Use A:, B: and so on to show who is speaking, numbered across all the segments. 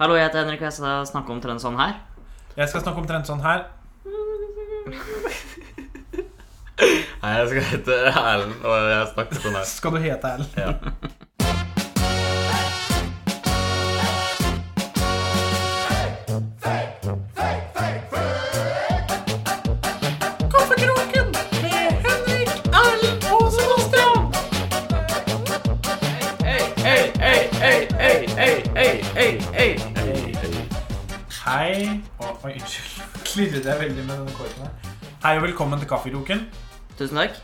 A: Hallo, jeg heter Henrik, og jeg skal snakke om trend sånn her.
B: Jeg skal snakke omtrent sånn her.
C: Nei, jeg skal hete Erlend, og jeg snakker sånn her.
B: Skal du hete Erlend?
C: Ja.
B: Kaffekroken med Henrik, Erlend og Sebastian. Hei og, Oi, unnskyld. Klirret jeg veldig med denne korken her. Hei og velkommen til Kaffekroken.
A: Tusen takk.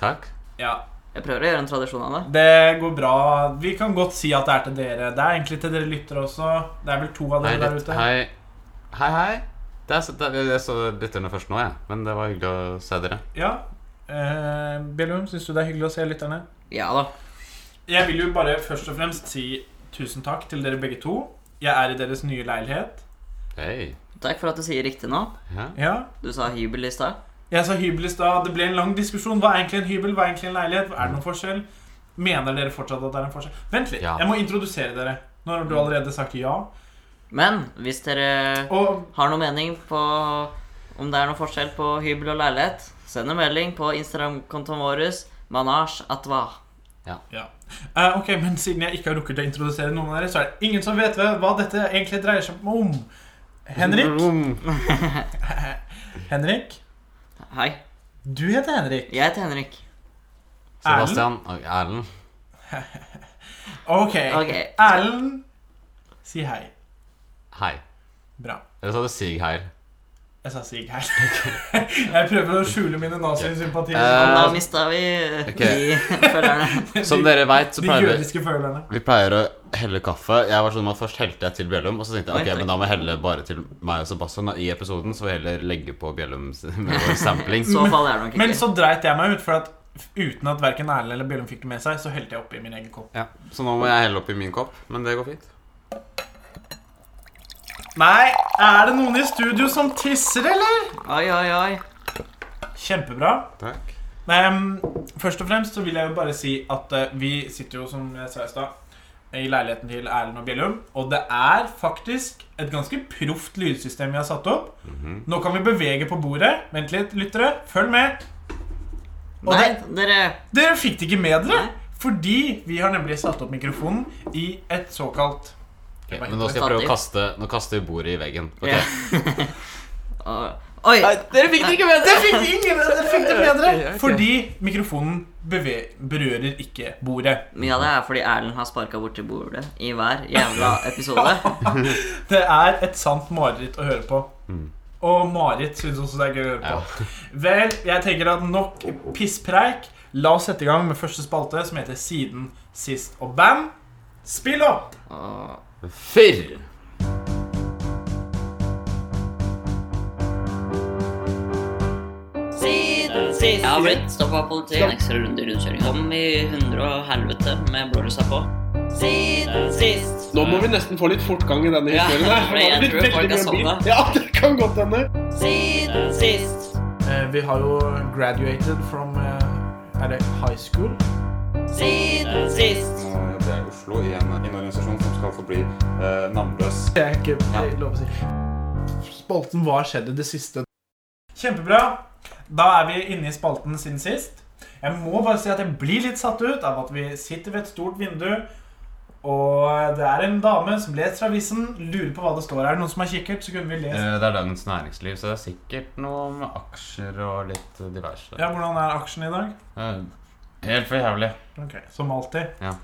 C: Takk.
B: Ja,
A: Jeg prøver å gjøre en tradisjon av det.
B: det går bra. Vi kan godt si at det er til dere. Det er egentlig til dere lyttere også. Det er vel to av
C: Hei,
B: dere der
C: litt,
B: ute.
C: hei. Hei, hei. Det er, så- det er, jeg så litt under først nå, jeg. Men det var hyggelig å se dere.
B: Ja. Eh, Bellum, syns du det er hyggelig å se lytterne?
A: Ja da.
B: Jeg vil jo bare først og fremst si tusen takk til dere begge to. Jeg er i deres nye leilighet.
C: Hei.
A: Takk for at du sier riktig nå.
C: Ja.
B: Ja.
A: Du sa hybel i stad.
B: Jeg sa hybel i stad. Det ble en lang diskusjon. Hva er egentlig en hybel? Hva er egentlig en leilighet? Er det noen forskjell? Mener dere fortsatt at det er en forskjell? Vent litt,
C: Ja.
B: jeg må introdusere dere. Nå har du allerede sagt ja.
A: Men hvis dere
B: Og
A: har noen mening på om det er noen forskjell på hybel og leilighet, send en melding på Instagram-kontoen vår manage atva.
B: ja. Eh, ok, men siden jeg ikke har rukket å introdusere noen av dere, så er det ingen som vet hva hva dette egentlig dreier seg om. Henrik?
C: Mm.
B: Henrik?
A: Hei.
B: Du heter Henrik.
A: Jeg heter Henrik.
C: Sebastian og Erlend.
B: Ok.
A: Ok.
B: Erlend, si hei.
C: Hei.
B: Bra.
C: Eller sa du sig hei?
B: Jeg sa sig hei. jeg prøver å skjule mine nazisympatier.
C: Eh,
A: Da mista vi
C: Ok.
A: de følgerne.
C: Som dere veit, så
B: De
C: pleier vi
B: jødiske følerne.
C: vi pleier å helle kaffe. Jeg var sånn at Først helte jeg til Bjellum, og så tenkte jeg ok, men da må jeg helle bare til meg og Sebastian da, i episoden. Så vi heller legge på Bjellum med vår sampling.
A: I så fall er det nok
B: Men
A: ikke.
B: så dreit jeg meg ut, for at uten at verken Erlend eller Bjørnum fikk det med seg, så helte jeg oppi min egen kopp.
C: Ja, Så nå må jeg helle oppi min kopp, men det går fint.
B: Nei, er det noen i studio som tisser, eller?
A: Oi, oi, oi.
B: Kjempebra.
C: Takk.
B: Ehm, først og fremst så vil jeg jo bare si at eh, vi sitter jo, som jeg sa i stad, i leiligheten til Erlend og Bjellum. Og det er faktisk et ganske proft lydsystem vi har satt opp. Nå kan vi bevege på bordet. Vent litt, lyttere. Følg med. Og
A: Nei,
B: det-
A: dere
B: Dere fikk det ikke med dere,
A: Nei.
B: fordi vi har nemlig satt opp mikrofonen i et såkalt
C: Ok, men nå skal jeg prøve å kaste Nå kaster vi bordet i veggen. Ok.
A: Ja. Å- Oi!
C: Dere fikk det ikke med
B: Det fikk ingen det fikk det bedre!
C: Ja, ok.
B: Fordi mikrofonen beve berører ikke bordet.
A: Mye av det er fordi Erlend har sparka borti bordet i hver jævla episode.
B: Det er et sant mareritt å høre på. Og Marit syns også det er gøy å høre på. Vel, jeg tenker at nok pisspreik. La oss sette i gang med første spalte, som heter Siden, sist og band. Spill opp!
A: Og
C: Fyrr!
A: Siden sist Jeg har blitt stoppa av politiet. En ekstra runde i rundkjøringa. Kom i hundre og helvete med blålysa på. Siden sist.
D: Nå må vi nesten få litt fortgang i denne
A: Ja,
D: historien. her.
A: for
D: Nå har
A: jeg
D: det blitt
A: tror folk
D: veldig
A: er
D: mye bil.
A: sovna.
D: Ja, det kan godt hende.
A: Siden sist.
B: Eh, vi har jo graduated from eh, Er det high school?
A: Siden sist.
C: Eh, Det er Oslo i en, organisasjon som skal forbli navnløs.
B: Det er ikke
C: Ja.
B: lov å si. Spalten Hva skjedde det siste? Kjempebra. Da er vi inne i spalten siden sist. Jeg må bare si at jeg blir litt satt ut av at vi sitter ved et stort vindu, og det er en dame som leser avisen, lurer på hva det står. Er det noen som har kikkert, så kunne vi
A: Eh.
B: lest.
C: Eh, Det er Dagens Næringsliv, så det er sikkert noe med aksjer og litt eh, diverse.
B: Ja, hvordan er aksjen i dag?
C: Eh, Helt for jævlig.
B: Ok, Som alltid.
C: Ja.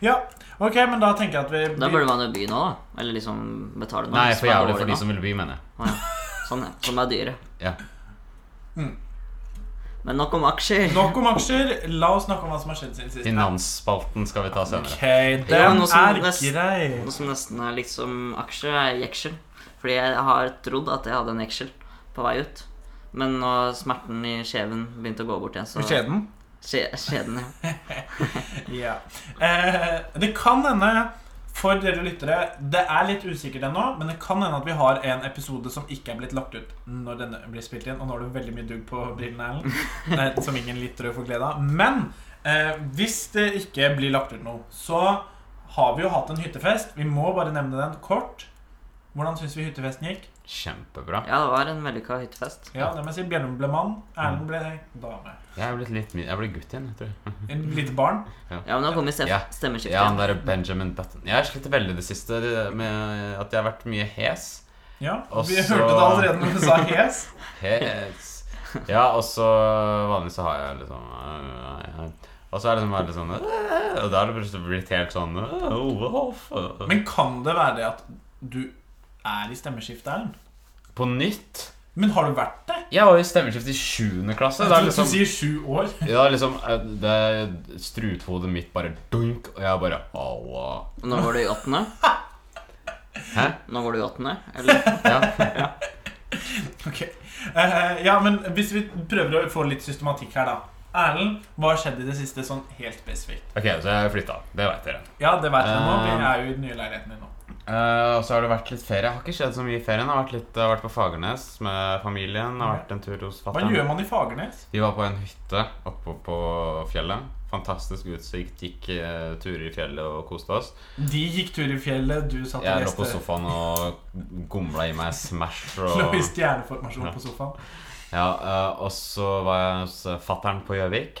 B: Ja, ok, men da tenker jeg at vi
A: Da burde man jo by nå, da. Eller liksom betale nå.
C: Nei,
A: hvis
C: for
A: man er
C: jævlig
A: dårlig nå.
C: for de som vil by, mener jeg.
A: Å, ja. Sånn, ja. Som er dyre.
C: Ja.
B: Mm.
A: Men nok om aksjer.
B: Nok om aksjer. La oss snakke om hva som har skjedd siden sist.
C: Finansspalten skal vi ta senere.
B: Ok, den
A: noe som
B: er
A: nest-
B: grei.
A: Noe som nesten er liksom aksjer, er jeksel. Fordi jeg har trodd at jeg hadde en jeksel på vei ut. Men når smerten i skjeven begynte å gå bort igjen, så
B: Skjeden?
A: Skje, Skjeden, ja.
B: Ja. Eh, det kan hende, for dere lyttere, det er litt usikkert ennå, men det kan hende at vi har en episode som ikke er blitt lagt ut når denne blir spilt inn. Og nå har du veldig mye dugg på brillene, Erlend, eh, som ingen lyttere får glede av. Men eh, hvis det ikke blir lagt ut noe, så har vi jo hatt en hyttefest. Vi må bare nevne den kort. Hvordan syns vi hyttefesten gikk?
C: Kjempebra.
A: Ja, det var en vellykka hyttefest.
B: Ja, det må jeg si. Bjellum ble mann, Erlend ble dame.
C: Jeg er blitt litt min- Jeg ble gutt igjen, jeg tror jeg.
B: Et lite barn.
A: Ja, men nå kommer stef-
C: Ja.
A: stemmeskiftet.
C: Ja, han derre Benjamin Button. Jeg har slitt veldig det siste det med at jeg har vært mye hes.
B: Ja,
C: Og
B: Vi
C: så-
B: hørte det allerede når du sa hes.
C: Hes. Ja, og så vanligvis så har jeg liksom øh, øh, Og så er det liksom bare litt sånn øh, Og da er det plutselig blitt helt sånn øh, Olof, øh.
B: Men kan det være det at du er i stemmeskiftet, Erlend?
C: På nytt?
B: Men har du vært det?
C: Jeg var jo i stemmeskift i 7. klasse. Da
B: du,
C: liksom,
B: du sier sju år.
C: ja, liksom øh, det, Struthodet mitt bare dunk, og jeg bare Aua.
A: Og Nå går du i åttende?
C: Hæ?
A: Nå går du i åttende? Eller?
C: Ja.
B: Ok. Eh, ja, men hvis vi prøver å få litt systematikk her, da. Erlend, hva har skjedd i det siste sånn helt spesifikt?
C: Ok, så jeg flytta. Det veit dere.
B: Ja, det vet jeg nå. Vi
C: Eh.
B: er jo i den nye leiligheten din nå.
C: Eh, og så har det vært litt ferie. Jeg har ikke skjedd så mye i ferien. Jeg har vært, litt, jeg har vært på Fagernes med familien. Jeg har vært en tur hos
B: Hva gjør
C: fatter'n.
B: man i Fagernes?
C: Vi var på en hytte oppe på fjellet. Fantastisk utsikt. Gikk eh, turer i fjellet og koste oss.
B: De gikk tur i fjellet, du satt og
C: Jeg lå på
B: leste.
C: sofaen og gomla i meg Smash.
B: Lå i
C: Og,
B: stjerneformasjon på sofaen.
C: ja, eh, og så var jeg hos eh, fatter'n på Gjøvik.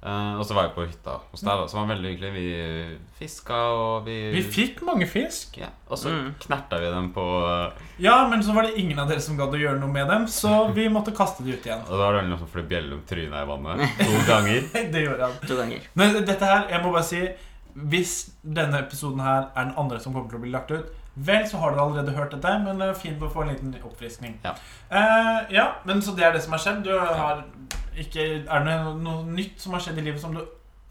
C: Eh, og så var jeg på hytta hos deg, da, som var veldig hyggelig. Vi fiska, og vi,
B: Vi fikk mange fisk.
C: ja, Og så
A: Mm.
C: knerta vi dem på eh,
B: Ja, men så var det ingen av dere som gadd å gjøre noe med dem, så vi måtte kaste de ut igjen.
C: Og da var det noen som fløy bjelle om trynet i vannet to ganger.
B: Det gjorde han.
A: To ganger.
B: Men dette her, jeg må bare si Hvis denne episoden her er den andre som kommer til å bli lagt ut, vel, så har dere allerede hørt dette, men det er fint å få en liten oppfriskning.
C: Ja.
B: Eh, ja, men så det er det som har skjedd. Du har ikke, er det noe, noe nytt som har skjedd i livet som du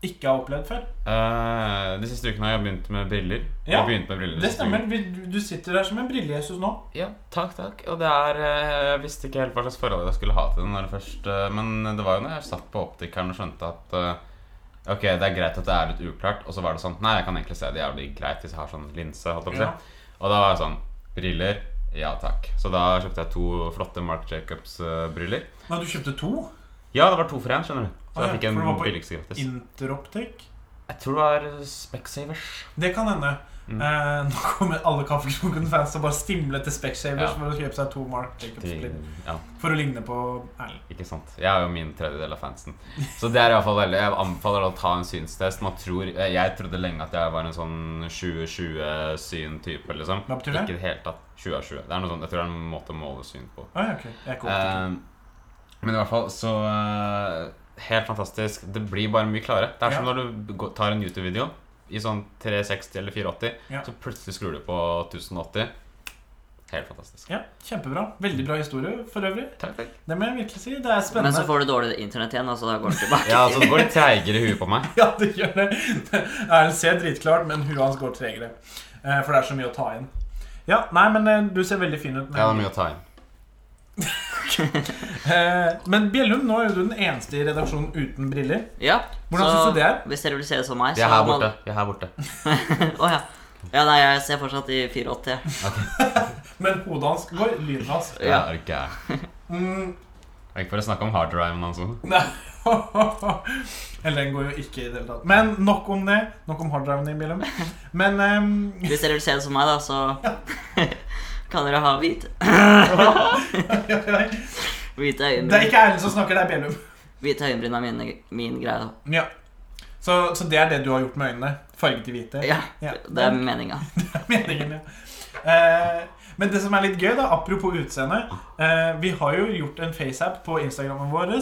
B: ikke har opplevd før?
C: Eh, de siste ukene har jeg begynt med briller.
B: Ja,
C: jeg begynte med briller de
B: Det
C: siste
B: stemmer.
C: ukene.
B: Vi, du- du sitter der som en brillejesus nå.
C: Ja, takk, takk. Og det er eh, Jeg visste ikke helt hva slags forhold jeg skulle ha til den når det først eh, Men det var jo når jeg satt på optikeren og skjønte at eh, Ok, det er greit at det er litt uklart, og så var det sånn Nei, jeg kan egentlig se det jævlig greit hvis jeg har sånn linse. Holdt jeg på å si.
B: Ja.
C: Og da var jeg sånn Briller? Ja takk. Så da kjøpte jeg to flotte Mark Jacobs-briller.
B: Men du kjøpte to.
C: Ja, det var to for én, skjønner du. Så
B: Å ja,
C: jeg fikk en
B: for det var på
C: billigste gratis.
B: Interoptic.
C: Jeg tror det var Specsavers.
B: Det kan hende.
C: Mm.
B: Eh, nå kommer alle Kaffekroken-fans til å bare stimle til Specsavers
C: Ja.
B: for å kjøpe seg to Mark
C: De,
B: Jacobs-briller.
C: ja,
B: For å ligne på Erlend.
C: ikke sant. Jeg er jo min tredjedel av fansen. Så det er i hvert fall veldig Jeg anbefaler å ta en synstest. Man tror, eh, jeg trodde lenge at jeg var en sånn 20-20-syn-type, liksom.
B: Hva betyr det?
C: Ikke i det hele tatt. 20 av 20. Det er noe sånt, jeg tror det er en måte å måle syn på.
B: Ah, ja, ok. Jeg er ikke optiker.
C: Eh, men i hvert fall så eh, Helt fantastisk. Det blir bare mye klarere. Det er som
B: Ja.
C: når du gå- tar en YouTube-video i sånn 360 eller 480,
B: Ja.
C: så plutselig skrur du på 1080. Helt fantastisk.
B: ja, kjempebra. Veldig bra historie for øvrig.
C: Takk, takk.
B: Det må jeg virkelig si. Det er
C: altså,
A: Men så
B: spennende.
A: får du dårlig internett igjen, og så da går det tilbake.
C: Ja, altså, det går litt treigere i huet på meg.
B: Ja, det gjør det. Erlend ser dritklart, men huet hans går tregere. Eh, For det er så mye å ta inn. Ja, nei, men eh, du ser veldig fin ut.
C: Ja, det er mye å ta inn.
B: Eh, men Bjellum, nå er jo du den eneste i redaksjonen uten briller.
A: Ja,
B: Hvordan
A: så
B: syns du det er?
A: Hvis dere vil se det som meg,
C: Jeg
A: så
C: er her
A: må-
C: borte. Jeg er her borte.
A: Å ja. Ja, nei, jeg ser fortsatt i 84.
B: Men hodet hans går lynraskt.
C: Ja.
A: Ja.
C: Er ikke jeg.
B: Mm.
C: Det er ikke for å snakke om hard drive, men altså.
B: Nei. Eller den går jo ikke i det hele tatt. Men nok om det. Nok om harddriven din, Bjellum. Men ehm,
A: Hvis dere vil se det som meg, da, så kan dere ha hvite,
B: Det
A: hvite
B: er
A: øyenbryn.
B: ikke Erlend som snakker, det er Bjellum.
A: Hvite øyenbryn er mine, min greie. da.
B: Ja. Så, så det er det du har gjort med øynene? Farget i hvite?
A: Ja,
B: Ja.
A: det er meninga.
B: Meningen, ja. Eh, men det som er litt gøy, da, apropos utseende eh, Vi har jo gjort en faceapp på Instagrammen vår.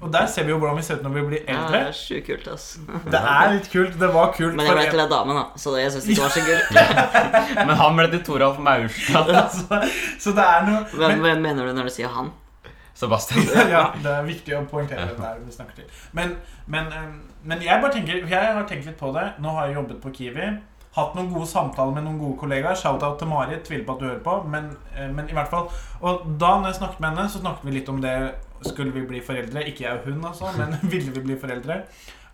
B: Og der ser vi jo hvordan vi ser ut når vi blir
A: Ja,
B: eldre.
A: det er sjukt kult, ass.
B: Det er litt kult. Det var kult.
A: Men jeg ble
B: for-
A: til ei dame, da, så det, jeg syns ikke det var så kult.
C: Men han ble til Toralf Maurstad.
B: altså, så det er noe
A: Hvem, hvem mener du når du sier han?
C: Sebastian.
B: ja, det er viktig å poengtere det der vi snakker til. Men, men, eh, men jeg bare tenker Jeg har tenkt litt på det. Nå har jeg jobbet på Kiwi. Hatt noen gode samtaler med noen gode kollegaer. Shout-out til Marit. Tviler på at du hører på, men, eh, men i hvert fall. Og da når jeg snakket med henne, så snakket vi litt om det Skulle vi bli foreldre? Ikke jeg og hun, altså, men ville vi bli foreldre?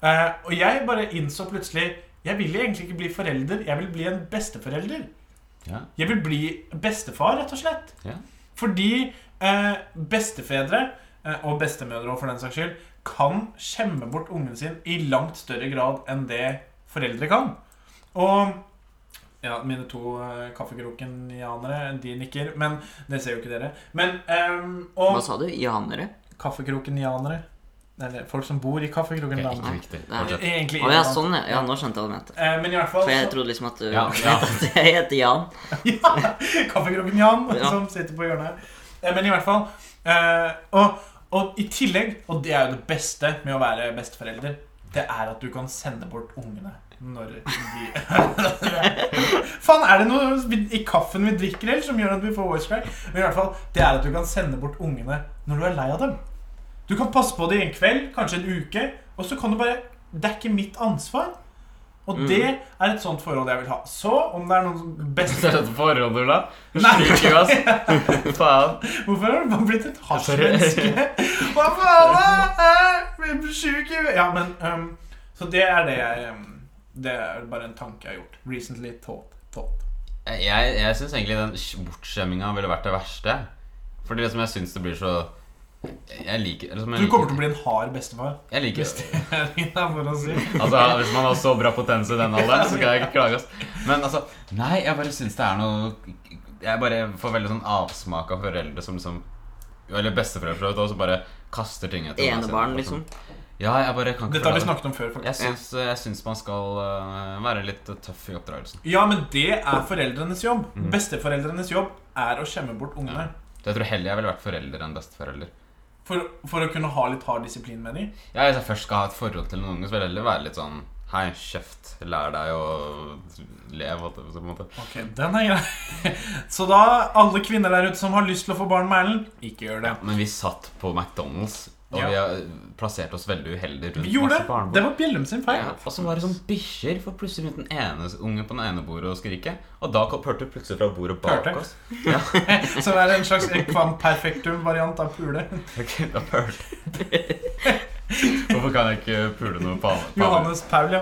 B: Eh, og jeg bare innså plutselig Jeg vil egentlig ikke bli forelder, jeg vil bli en besteforelder.
C: Ja.
B: Jeg vil bli bestefar, rett og slett.
C: Ja.
B: Fordi eh, bestefedre, eh, og bestemødre også for den saks skyld, kan skjemme bort ungen sin i langt større grad enn det foreldre kan. Og ja, mine to eh, kaffekroken-janere, de nikker, men det ser jo ikke dere. Men ehm,
A: Hva
B: Og
A: sa du? Janere?
B: kaffekroken-janere Eller folk som bor i kaffekroken.
C: Ok,
B: da.
C: ikke viktig.
A: Nei.
C: Fortsett.
A: Å
B: Egentlig
A: ja,
B: irrelevant.
A: sånn, ja. ja. Nå skjønte jeg hva du mente.
B: Eh, Men i hvert fall
A: For jeg
B: så-
A: trodde liksom at du
C: Ja, ja.
A: at jeg heter Jan.
B: Ja, Kaffekroken Jan
A: Ja.
B: som sitter på hjørnet. Eh, Men i hvert fall eh, og, og i tillegg, og det er jo det beste med å være besteforelder, det er at du kan sende bort ungene når de Faen, er det noe vi- i kaffen vi drikker ellers som gjør at vi får voice crack? Men i hvert fall, det er at du kan sende bort ungene når du er lei av dem. Du kan passe på dem en kveld, kanskje en uke, og så kan du bare Det er ikke mitt ansvar. Og
A: Mm.
B: det er et sånt forhold jeg vil ha. Så om det er noen som
C: Det er
B: best
C: dette forholdet, Ola.
B: Nei.
C: Slik jo, ass. Faen.
B: Hvorfor har du bare blitt et
C: Sorry.
B: hasjmenneske? Hva faen? da? Jeg blir sjuk i Ja, men ehm, Så det er det jeg ehm, Det er bare en tanke jeg har gjort. Recently thought. thought.
C: Jeg, jeg syns egentlig den sk- bortskjemminga ville vært det verste. Fordi liksom jeg syns det blir så Jeg liker liksom,
B: Du kommer til å bli en hard bestefar.
C: Jeg liker
B: Hvis det er det for å si.
C: Altså, Hvis man har så bra potens i den alderen, så skal jeg ikke klage. ass. Men altså, nei, jeg bare syns det er noe Jeg bare får veldig sånn avsmak av foreldre som liksom Eller besteforeldre for så vidt, også, som bare kaster ting etter meg,
A: Enebarn,
C: så- sånn.
A: liksom.
C: Ja, jeg bare kan ikke
B: Dette har vi
C: forlate-
B: snakket om før. faktisk
C: Jeg syns, jeg syns man skal øh, være litt tøff i oppdragelsen.
B: Ja, men det er foreldrenes jobb.
C: Mhm.
B: Besteforeldrenes jobb er å skjemme bort ungene.
C: Ja. Så Jeg tror heller jeg ville vært forelder enn besteforelder.
B: For, for å kunne ha litt hard disiplin med dem.
C: Ja, Hvis jeg først skal ha et forhold til noen unge, så vil jeg heller være litt sånn Hei, kjeft. Lær deg å leve. holdt jeg på å si, på en måte.
B: Ok, den er grei. Så da, alle kvinner der ute som har lyst til å få barn med Erlend, ikke gjør det.
C: Men vi satt på McDonald's, og
B: Ja.
C: vi har plassert oss veldig uheldig rundt
B: Vi gjorde det.
C: barnebord.
B: Det var Bjellum sin feil.
C: Ja, og så var det sånn bikkjer, for plutselig begynte den ene ungen på den ene bordet å skrike. Og da kom- hørte du plutselig fra bordet bak
B: Hørte.
C: oss.
B: Så det er en slags ekvam perfektum-variant av pule.
C: Ok, da hørte Hvorfor kan jeg ikke pule noe på alle?
B: Johannes Paul, ja.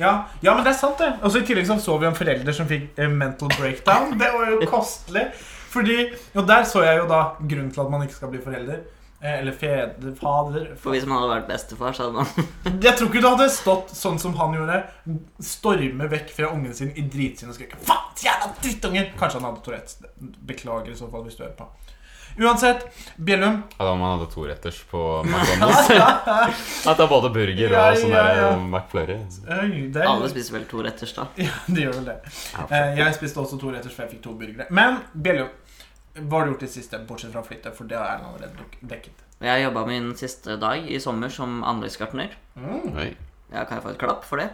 B: ja. Ja, men det er sant, det. Og så I tillegg så, så vi en forelder som fikk eh, mental breakdown. Det var jo kostelig. Fordi, Og der så jeg jo da grunnen til at man ikke skal bli forelder. Eh, Eller fedre, fader
A: For hvis man hadde vært bestefar, så hadde man
B: Jeg tror ikke du hadde stått sånn som han gjorde. Storme vekk fra ungen sin i dritsinn og skrike 'Faen, jævla drittunger!' Kanskje han hadde Tourettes. Beklager i så fall hvis du hører på. Uansett, Bjellum
C: Ja, da man hadde to retters på McDonald's. At det er både burger og sånn
B: Ja, ja, ja.
C: der McFlurry.
B: Øy, det,
A: Alle spiser vel to retters, da.
B: ja, det gjør vel det. Eh, Jeg spiste også to retters, for jeg fikk to burgere. Men Bjellum, hva har du gjort i det siste, bortsett fra å flytte? For det har Erlend allerede duk- dekket.
A: Og Jeg jobba min siste dag i sommer som anleggsgartner. Mm.
C: Oi.
A: Ja, kan jeg få et klapp for det?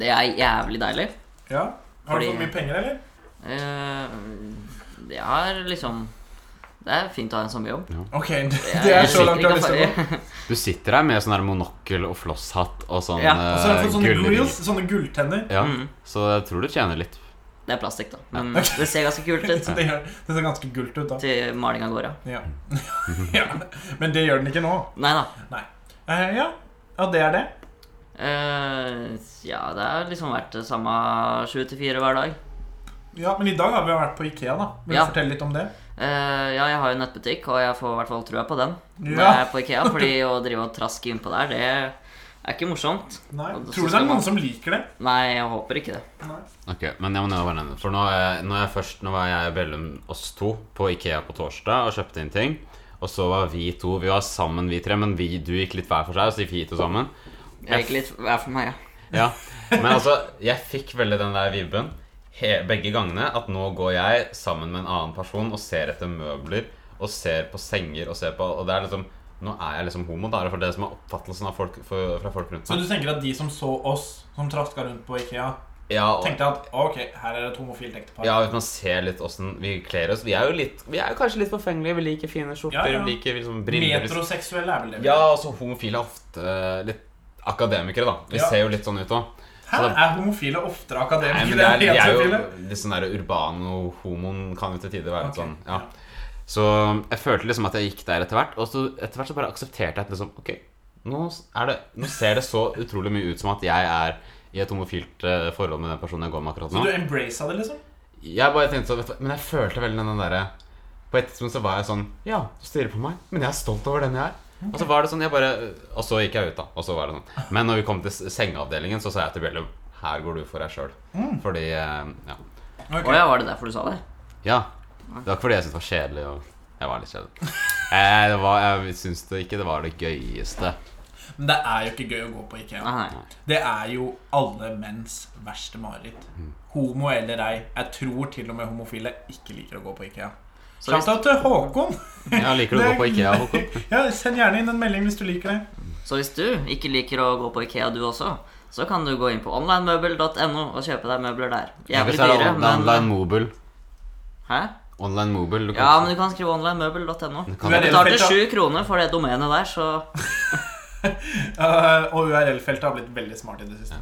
A: Det er jævlig deilig.
B: Ja. Har du
A: Fordi-
B: fått mye penger, eller?
A: Eh, Det er liksom Det er fint å ha en sånn sommerjobb.
B: Ok, det, det er så langt du har lyst til å gå.
C: Du sitter her med sånn der monokkel og flosshatt og sånn
A: Ja,
B: Og så har jeg fått
C: eh,
B: sånne
C: gullring.
B: grills, sånne gulltenner.
C: Ja,
A: Mm.
C: så jeg tror du tjener litt.
A: Det er plastikk, da.
C: Ja.
A: Men det ser ganske kult ut.
B: Så det, gjør- det ser ganske gult ut, da.
A: Til malinga går av.
B: Ja. ja. Men det gjør den ikke nå.
A: Nei da.
B: Eh, ja. ja, det er det.
A: Eh, ja, det har liksom vært det samme sju til fire hver dag.
B: Ja, Men i dag har vi jo vært på Ikea, da. Vil du
A: Ja.
B: fortelle litt om det?
A: Eh, ja, jeg har jo nettbutikk, og jeg får i hvert fall trua på den. Når
B: Ja.
A: jeg er på Ikea, fordi å drive og traske innpå der, det er ikke morsomt.
B: Nei.
A: Og så
B: Tror du det
A: skal
B: er
A: man-
B: noen som liker det?
A: Nei, jeg håper ikke det.
B: Nei.
C: Ok, men jeg må nevne nevne, For nå, er, nå, er jeg først, nå var jeg og Bellum oss to på Ikea på torsdag og kjøpte inn ting. Og så var vi to Vi var sammen, vi tre, men vi, du gikk litt hver for seg. Og så gikk vi to sammen.
A: Jeg er ikke litt hver for meg, ja.
C: Ja, Men altså, jeg fikk veldig den der vibben he, begge gangene. At nå går jeg sammen med en annen person og ser etter møbler og ser på senger og ser på Og det er liksom Nå er jeg liksom homo, da. er Det for det som er oppfattelsen av folk, for, fra folk rundt
B: Så
C: meg.
B: du tenker at de som så oss som traska rundt på Ikea,
C: Ja, og,
B: tenkte at ok, her er det et homofilt ektepar?
C: Ja, hvis man ser litt åssen vi kler oss Vi er jo, litt, vi er jo kanskje litt forfengelige. Vi liker fine skjorter,
B: Ja, ja.
C: vi liker liksom briller
B: Metroseksuelle er vel det?
C: Ja, altså homofile er ofte eh, litt akademikere, da. Vi
B: Ja.
C: ser jo litt sånn ut òg.
B: Her er homofile oftere
C: Nei, men
B: akademikere
C: det er,
B: enn
C: vi er jo
B: heterofile.
C: litt sånn der urbano-homoen kan jo til tider være litt
B: Ok,
C: sånn. Ja. Så jeg følte liksom at jeg gikk der etter hvert, og så etter hvert så bare aksepterte jeg at liksom Ok, nå, er det, nå ser det så utrolig mye ut som at jeg er i et homofilt eh, forhold med den personen jeg går med akkurat
B: Så
C: nå.
B: du embracet det, liksom?
C: Jeg bare tenkte sånn, vet du hva, men jeg følte veldig den derre På et tidspunkt så var jeg sånn Ja, du stirrer på meg, men jeg er stolt over den jeg er. Og så var det sånn, jeg bare Og så gikk jeg ut, da. Og så var det sånn. Men når vi kom til s- sengeavdelingen, så sa jeg til Bjellum her går du for deg sjøl.
B: Mm.
C: Fordi eh, ja.
B: Ok.
A: Å ja, var det derfor du sa det?
C: ja. Det var ikke fordi jeg syntes det var kjedelig. Og jeg var litt kjedelig. Eh, det var, jeg syns det ikke det var det gøyeste.
B: Men det er jo ikke gøy å gå på IKEA.
A: Nei, nei.
B: Det er jo alle menns verste mareritt.
C: Mm.
B: Homo eller ei. Jeg tror til og med homofile ikke liker å gå på Ikea.
A: Så hvis,
B: Shout-out til Håkon.
C: Ja, liker du å gå på Ikea? Håkon?
B: Ja, Send gjerne inn en melding hvis du liker det.
A: så hvis du ikke liker å gå på Ikea, du også, så kan du gå inn på onlinemøbel.no og kjøpe deg møbler der. Jævlig
C: Hvis det er
A: dyre,
C: on- det er online
A: men
C: mobile.
A: Hæ?
C: Online mobile. Du kan,
A: Ja, men du kan skrive onlinemøbel.no.
C: du
A: Du
C: kan,
B: Du er det-
A: betalte sju kroner for det domenet der, så
B: Eh, og URL-feltet har blitt veldig smart i det siste.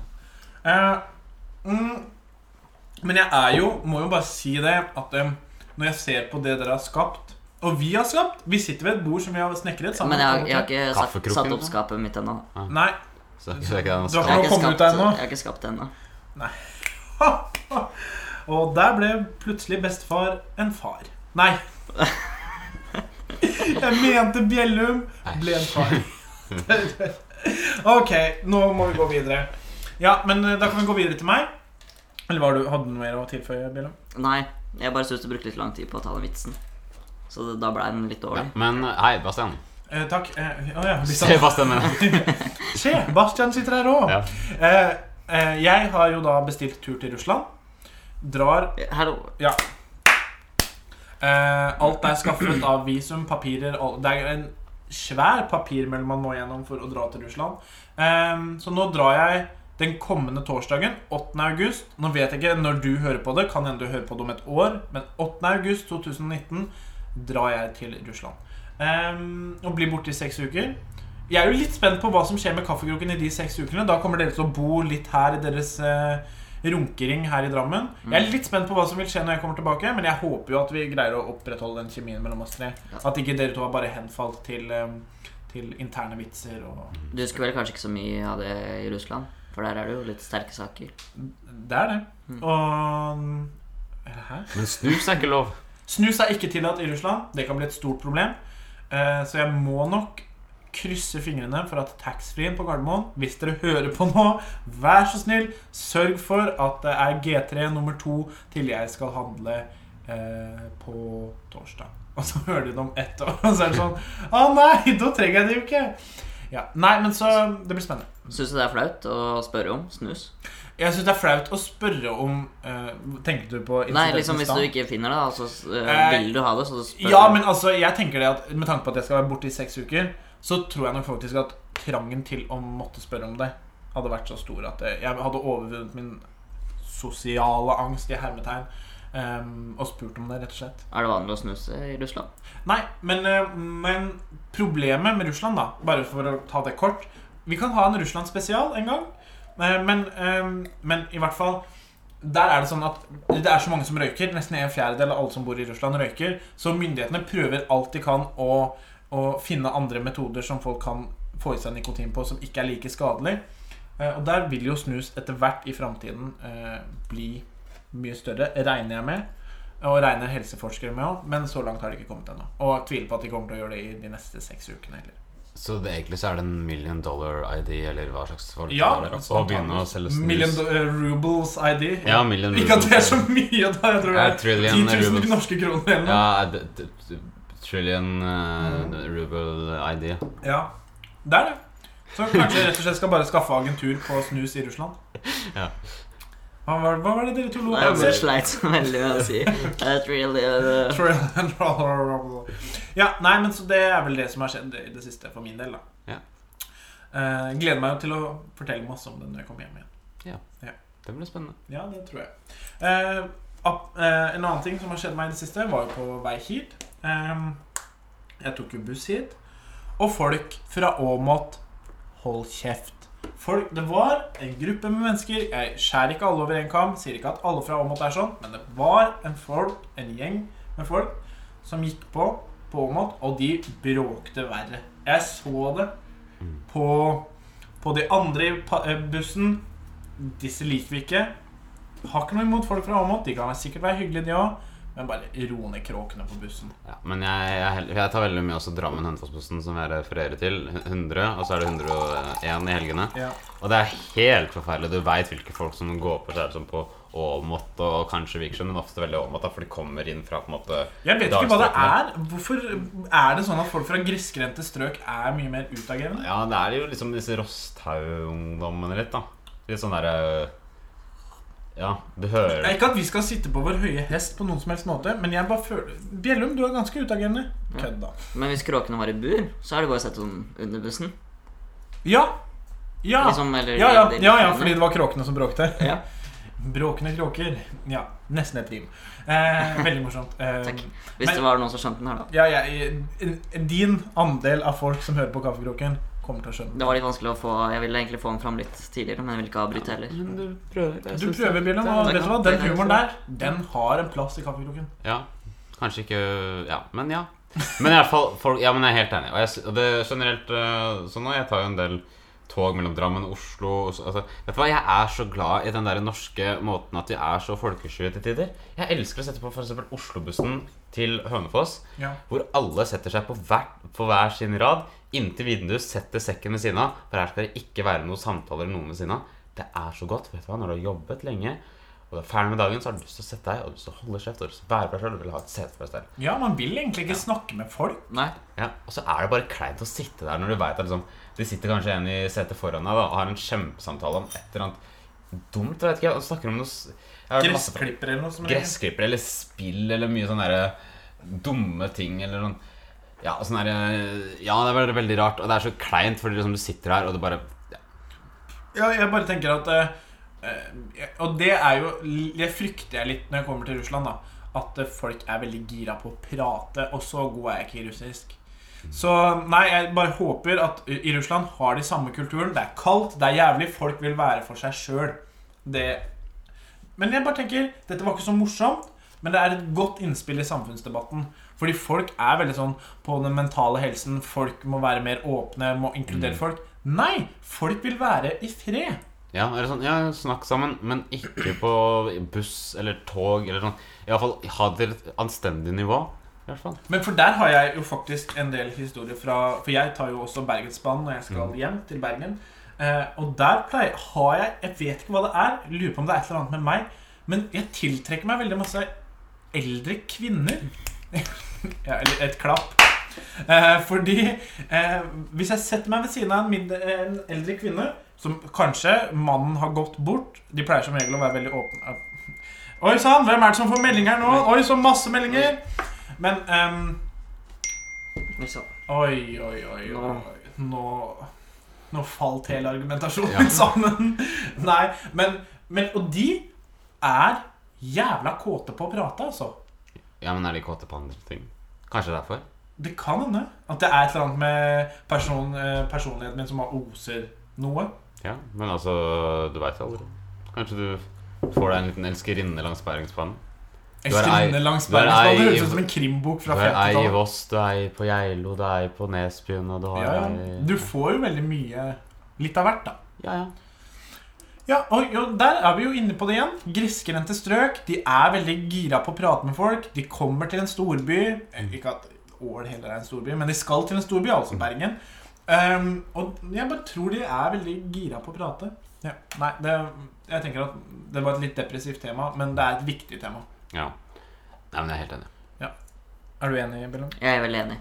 B: Eh, mm, men jeg er jo, må jo bare si det, at eh, når jeg ser på det dere har skapt Og vi har skapt Vi sitter ved et bord som vi har snekret sammen.
A: Men jeg, har- jeg har ikke satt,
C: Kaffekroken,
A: satt opp
C: da?
A: skapet mitt ennå.
B: Nei.
C: så, så er ikke det
B: Du har
A: Jeg har
B: ikke
A: ikke
B: kommet ut
A: skapt-
B: ennå?
A: jeg har ikke skapt det ennå.
B: Og der ble plutselig bestefar en far. Nei. Jeg mente Bjellum ble en far. Ok, nå må vi gå videre. Ja, men eh, da kan vi gå videre til meg. Eller var du, hadde du noe mer å tilføye, Bjellum?
A: Nei, jeg bare syns du brukte litt lang tid på å ta den vitsen. Så det, da ble den litt
C: Ja,
A: dårlig.
C: men hei, Bastian.
B: Eh, takk. Eh, å ja, vi sa-
C: Se, Bastian mener jeg.
B: Se, Bastian sitter her òg.
C: Ja.
B: Eh, eh, jeg har jo da bestilt tur til Russland. Drar
A: Hallo.
B: Eh, alt er skaffet av visum, papirer al- Det er en svær papirmølle man må gjennom for å dra til Russland. Eh, så nå drar jeg den kommende torsdagen, 8. august. Nå vet jeg ikke når du hører på det, kan hende du hører på det om et år, men 8. august 2019 drar jeg til Russland. Eh, og blir borte i seks uker. Jeg er jo litt spent på hva som skjer med Kaffekroken i de seks ukene. Da kommer dere til å bo litt her i deres eh, runkering her i Drammen. Jeg er litt spent på hva som vil skje når jeg kommer tilbake, men jeg håper jo at vi greier å opprettholde den kjemien mellom oss tre. At ikke dere to har bare henfalt til, ehm, til interne vitser og
A: Du husker vel kanskje ikke så mye av det i Russland? For der er det jo litt sterke saker.
B: Det er det. Og er det her?
C: Men snus er ikke lov.
B: Snus er ikke tillatt i Russland. Det kan bli et stort problem. Eh, Så jeg må nok krysse fingrene for at taxfree-en på Gardermoen Hvis dere hører på nå, vær så snill, sørg for at det er G3 nummer to til jeg skal handle eh, på torsdag. Og så hører de det om ett år, og så er det sånn Å nei, da trenger jeg det jo ikke! Ja, Nei, men så Det blir spennende.
A: Syns du det er flaut å spørre om snus?
B: Jeg syns det er flaut å spørre om eh, Tenkte du på
A: Nei,
B: incidenten
A: liksom
B: i
A: hvis
B: stad?
A: du ikke finner det, da, så s-
B: Eh,
A: eh, vil du ha det, så spør
B: Ja,
A: du.
B: men altså, jeg tenker det at med tanke på at jeg skal være borte i seks uker, så tror jeg nok faktisk at trangen til å måtte spørre om det hadde vært så stor at jeg jeg hadde overvunnet min sosiale angst i hermetegn ehm, og spurt om det, rett og slett.
A: Er det vanlig å snuse i Russland?
B: Nei, men, eh, men problemet med Russland, da, bare for å ta det kort Vi kan ha en Russland-spesial en gang, eh, men, ehm, men i hvert fall der er det sånn at det er så mange som røyker. Nesten en fjerdedel av alle som bor i Russland, røyker. Så myndighetene prøver alt de kan å, å finne andre metoder som folk kan få i seg nikotin på, som ikke er like skadelig. Eh, Og der vil jo snus etter hvert i framtiden eh, bli mye større, regner jeg med. Og regner helseforskere med òg, men så langt har det ikke kommet ennå. Og jeg tviler på at de kommer til å gjøre det i de neste seks ukene heller.
C: Så det, egentlig så er det en million dollar ID, eller hva slags folk
B: Ja,
C: det er, og å begynne å selge snus.
B: Million do- eh, rubles ID.
C: ja, million
B: Ikke at det er så
C: rubles.
B: mye, da. Jeg tror det
C: Ja,
B: er 10
C: trillion
B: 000
C: rubles.
B: norske kroner eller noe.
C: Ja, d- d- d- trillion eh, ruble ID.
B: Ja, det er det. Så kanskje jeg rett og slett skal bare skaffe agentur på snus i Russland.
C: Ja.
B: Hva var, hva var det dere to lo
A: Nei,
B: av?
A: jeg bare sleit så veldig med å si eh, trillion, eh,
B: Trail and roll. Ja, nei, men så det er vel det som har skjedd i det siste for min del, da.
C: Ja.
B: Eh, gleder meg jo til å fortelle masse om det når jeg kommer hjem igjen.
C: Det blir spennende.
B: Ja, det tror jeg. Eh, ap- eh, en annen ting som har skjedd meg i det siste, var jo på vei hit. Ehm, jeg tok jo buss hit. Og folk fra Åmot Hold kjeft. Folk, det var en gruppe med mennesker. Jeg skjærer ikke alle over en kam. Sier ikke at alle fra Åmot er sånn, men det var en, folk, en gjeng med folk som gikk på på Åmot, og de bråkte verre. Jeg så det på, på de andre i pa- eh, bussen. Disse liker vi ikke. Har ikke noe imot folk fra Åmot. De kan sikkert være hyggelige, de òg. Men bare ro ned kråkene på bussen.
C: Ja, men jeg, jeg, er hell- jeg tar veldig mye også Drammen-Hønefoss-bussen, som jeg refererer til. 100, og så er det 101 i helgene.
B: Ja.
C: Og det er helt forferdelig. Du veit hvilke folk som går på skjær som på Åmot og kanskje Vikersund, men ofte veldig Åmot, da, for de kommer inn fra på en måte
B: Jeg vet ikke hva det
C: dagstrøkene.
B: er. Hvorfor er det sånn at folk fra grisgrendte strøk er mye mer utagerende?
C: Ja, det er jo liksom disse Rosthaug-ungdommene litt, da. Litt sånn derre eh, Ja, du hører
B: Det er Ikke at vi skal sitte på vår høye hest på noen som helst måte, men jeg bare føler Bjellum, du er ganske utagerende. Kødd, da.
A: Men hvis kråkene var i bur, så er det bare å sette dem under bussen.
B: Ja. Ja.
A: Liksom, eller
B: Ja, ja,
A: i-
B: ja, ja, fordi det var kråkene som bråkte.
A: Ja.
B: Bråkende kråker. Ja, nesten et rim. Eh, veldig morsomt. Eh,
A: Takk. Hvis
B: Men-
A: det var noen som skjønte den her, da.
B: Ja, jeg- din andel av folk som hører på Kaffekroken, kommer til å skjønne
A: Det var litt vanskelig å få Jeg ville egentlig få den fram litt tidligere, men jeg ville ikke avbryte heller.
C: Men du prøver. jeg
B: Du
C: synes
B: prøver,
C: det-
B: Bjørn, og
C: det er-
B: vet du hva? Den humoren der, den har en plass i Kaffekroken.
C: Ja, kanskje ikke Ja, men ja. Men i hvert fall folk, Ja, men jeg er helt enig. Og jeg, sy- og det er generelt eh, sånn nå, jeg tar jo en del tog mellom Drammen og Oslo og så- altså, Vet du hva, jeg er så glad i den der norske måten at vi er så folkesky til tider. Jeg elsker å sette på for eksempel Oslobussen til Hønefoss,
B: Ja.
C: hvor alle setter seg på hver, på hver sin rad inntil vinduet, setter sekken ved siden av, for her skal det ikke være noen samtaler eller noen ved siden av. Det er så godt, vet du hva, når du har jobbet lenge, og du er ferdig med dagen, så har du lyst til å sette deg, og du har lyst til å holde kjeft, og du har lyst til å være på deg selv, og du vil ha et sete for deg selv.
B: Ja, man vil egentlig ikke snakke med folk.
A: Nei.
C: Ja, og så er det bare kleint å sitte der når du vet at liksom, det sitter kanskje en i setet foran deg da, og har en kjempesamtale om et eller annet dumt, jeg vet ikke, og snakker om noe... s- jeg har hørt masse-
B: Gressklipper eller noe sånt.
C: gressklipper eller spill eller mye sånne der eh, dumme ting eller sånn Ja, sånn der, ja det er veldig, veldig rart, og det er så kleint fordi liksom du sitter her og det bare ja.
B: Ja, jeg bare tenker at eh, eh, Og det er jo Det frykter jeg litt når jeg kommer til Russland, da. At eh, folk er veldig gira på å prate, og så god er jeg ikke i russisk. Så nei, jeg bare håper at i i Russland har de samme kulturen. Det er kaldt, det er jævlig, folk vil være for seg sjøl. Det Men jeg bare tenker Dette var ikke så morsomt, men det er et godt innspill i samfunnsdebatten. Fordi folk er veldig sånn på den mentale helsen. Folk må være mer åpne, må inkludere folk. Nei! Folk vil være i fred.
C: Ja, eller sånn, ja, snakk sammen, men ikke på buss eller tog eller sånn. Iallfall ha det til et anstendig nivå. I hvert fall.
B: Men for der har jeg jo faktisk en del historier fra For jeg tar jo også Bergensbanen når jeg skal hjem til Bergen. Eh, og der pleier, har jeg Jeg vet ikke hva det er. Lurer på om det er et eller annet med meg. Men jeg tiltrekker meg veldig masse eldre kvinner. ja, eller et klapp. Eh, fordi eh, hvis jeg setter meg ved siden av en, midd- en eldre kvinne som kanskje mannen har gått bort De pleier som regel å være veldig åpne. Oi sann, hvem er det som får meldinger nå? Oi, så masse meldinger! Men ehm,
A: Liksom.
B: Oi, oi, oi, oi.
A: Nå.
B: Nå, nå falt hele argumentasjonen
C: Ja.
B: min sammen. Nei, men, men Og de er jævla kåte på å prate, altså.
C: Ja, men er de kåte på andre ting? Kanskje derfor?
B: Det kan hende at det er et eller annet med person, eh, personligheten min som bare oser noe.
C: Ja, men altså, du veit aldri. Kanskje du får deg en liten elskerinne langs Bergensbanen. Du er ei-
B: Elskerinne langs
C: du er
B: Bergensbanen. Det
C: ei-
B: høres ut som en krimbok
C: Du
B: fra
C: er ei i
B: 50-tallet.
C: Voss, du er ei på Geilo, du er ei på Nesbyen, og du har
B: Ja, ja.
C: ei
B: Du får jo veldig mye Litt av hvert, da.
C: Ja, ja.
B: Ja, og, og der er vi jo inne på det igjen. Grisgrendte strøk. De er veldig gira på å prate med folk. De kommer til en storby eh, Ikke at Ål heller er en storby, men de skal til en storby, altså Bergen. Ehm, og jeg bare tror de er veldig gira på å prate. Ja. Nei, det, jeg tenker at det var et litt depressivt tema, men det er et viktig tema.
C: ja. Nei, men jeg er helt enig.
B: Er du enig, Bellum?
A: Jeg er veldig enig.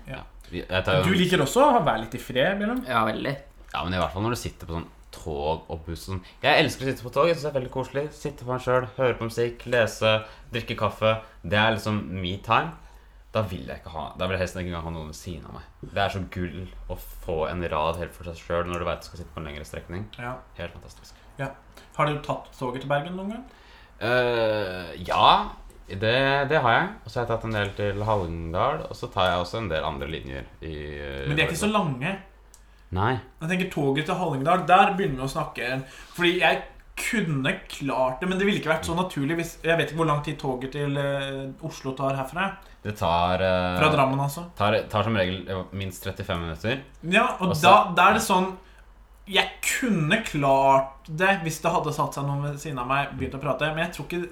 C: Vi- Jeg tar
B: Du
C: jo,
B: liker også å være litt i fred, Bellum?
A: Ja, veldig.
C: ja, men I hvert fall når du sitter på sånn tog og buss og sånn. Jeg elsker å sitte på tog. jeg synes det er veldig koselig. Sitte på meg sjøl, høre på musikk, lese, drikke kaffe. Det er liksom me time. Da vil jeg ikke ha Da vil jeg helst ikke engang ha noen ved siden av meg. Det er så gull å få en rad helt for seg sjøl når du veit du skal sitte på en lengre strekning.
B: Ja.
C: Helt fantastisk.
B: Har du tatt toget til Bergen noen gang?
C: Eh, ja, det, det har jeg. Og så har jeg tatt en del til Hallingdal. Og så tar jeg også en del andre linjer. I, eh,
B: Men de er ikke så lange.
C: Nei.
B: Jeg tenker toget til Hallingdal, der begynner vi å snakke Fordi jeg kunne klart det, men det ville ikke vært så naturlig hvis Jeg vet ikke hvor lang tid toget til eh, Oslo tar herfra.
C: Det tar, eh,
B: Fra Drammen, altså.
C: tar Tar som regel eh, minst 35 minutter.
B: Ja, og
C: Altså-
B: da, da er det sånn Jeg kunne klart det hvis det hadde satt seg noen ved siden av meg begynt å prate, men jeg tror ikke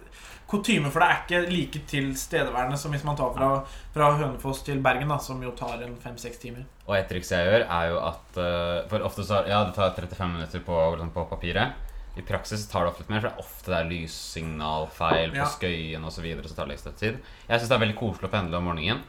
B: Kutyme for det er ikke like tilstedeværende som hvis man tar fra, fra Hønefoss til Bergen, da, som jo tar en fem-seks timer.
C: Og et triks jeg gjør, er jo at eh, For ofte så Ja, det tar 35 minutter på, liksom, på papiret. I praksis så tar det ofte litt mer, for det er ofte det er lyssignalfeil på
B: Ja.
C: Skøyen osv. Så, videre, så tar det ekstra tid. Jeg syns det er veldig koselig å pendle om morgenen.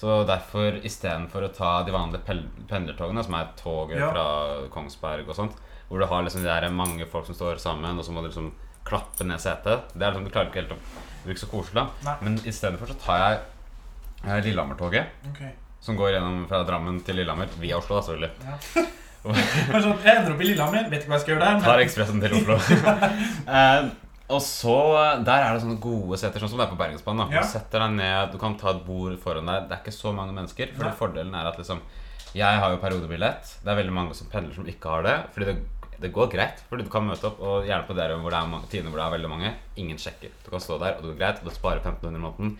C: Så derfor, istedenfor å ta de vanlige pel- pendlertogene, som er toget
B: Ja.
C: fra Kongsberg og sånt, hvor du har liksom de der mange folk som står sammen, og så må du liksom klappe ned setet Det er liksom, Du klarer ikke helt å Det blir ikke så koselig.
B: Nei.
C: da. Men istedenfor så tar jeg eh, Lillehammer-toget
B: Okay.
C: som går gjennom fra Drammen til Lillehammer via Oslo, da, selvfølgelig.
B: Men sånn, jeg ender opp i Lillehammer, vet ikke hva jeg skal gjøre der.
C: Tar ekspressen til Oslo. Eh, og så Der er det sånne gode seter, sånn som det er på Bergensbanen. da.
B: Ja.
C: Du setter deg ned, du kan ta et bord foran deg. Det er ikke så mange mennesker. For
B: Nei.
C: fordelen er at liksom Jeg har jo periodebillett. Det er veldig mange som pendler som ikke har det. Fordi det, det går greit. Fordi du kan møte opp, og gjerne på dere hvor det er mange tider hvor det er veldig mange. Ingen sjekker. Du kan stå der, og det går greit. Og du sparer 1500 i måneden.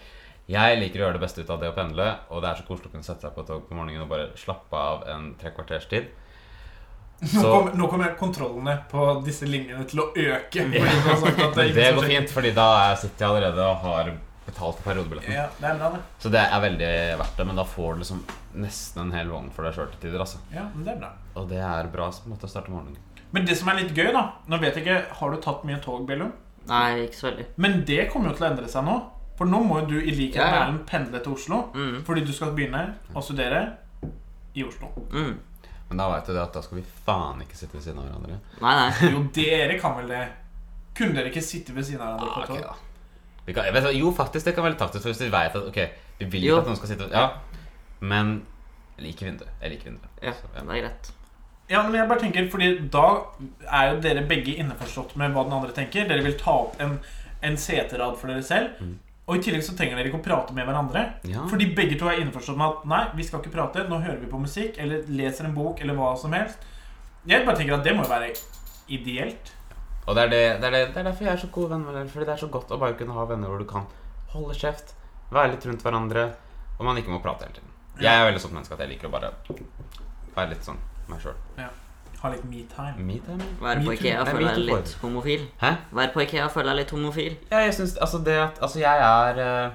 C: Jeg liker å gjøre det beste ut av det å pendle, og det er så koselig å kunne sette seg på et tog på morgenen og bare slappe av en tre kvarters tid.
B: Nå,
C: Så-
B: kommer, nå kommer kontrollene på disse linjene til å øke. fordi du har sagt at
C: Men
B: ikke
C: det
B: så
C: går
B: skjer.
C: fint, fordi da er- sitter jeg allerede og har betalt for periodebilletten.
B: Ja, det er bra, det.
C: Så det er veldig verdt det, men da får du liksom nesten en hel vogn for deg sjøl til tider. altså
B: Ja, men det er bra.
C: Og det er bra som måte å starte morgenen.
B: Men det som er litt gøy, da Nå vet jeg ikke, Har du tatt mye tog, Bellum?
A: Nei, ikke så veldig.
B: Men det kommer jo til å endre seg nå. For nå må jo du i likhet
A: Ja,
B: med
A: ja.
B: Erlend pendle til Oslo.
A: Mm,
B: Fordi du skal begynne å studere i Oslo.
A: mm.
C: Men da veit du det at da skal vi faen ikke sitte ved siden av hverandre.
A: Nei, nei.
B: Jo, dere kan vel det? Kunne dere ikke sitte ved siden av hverandre
C: Ah,
B: på
C: ok
B: tog?
C: da vi kan, vet, du hva, Jo, faktisk, det kan være litt taktisk, for hvis vi veit at ok, vi vil ikke
A: Jo.
C: at noen skal sitte Ja, men jeg liker vinduet. Jeg liker vinduet.
A: Ja,
C: Så,
A: det er greit.
B: Ja, men jeg bare tenker, fordi da er jo dere begge innforstått med hva den andre tenker. Dere vil ta opp en, en seterad for dere selv.
C: Mm.
B: Og i tillegg så trenger dere ikke å prate med hverandre.
C: ja.
B: Fordi begge to er innforstått med at nei, vi skal ikke prate, nå hører vi på musikk, eller leser en bok, eller hva som helst. Jeg bare tenker at det må jo være ideelt.
C: Og det er, det, det, er det, det er derfor jeg er så god venn med dere. Fordi det er så godt å bare kunne ha venner hvor du kan holde kjeft, være litt rundt hverandre, og man ikke må prate hele tiden. Jeg er veldig sånn menneske at jeg liker å bare være litt sånn meg sjøl.
B: Ha litt me-time.
A: Være på
C: Me too.
A: Ikea og
C: Nei,
A: føle
C: me
A: deg
C: too for.
A: litt homofil.
C: Hæ?
A: Være på Ikea og føle deg litt homofil.
C: Ja, jeg syns Altså, det at Altså, jeg er eh,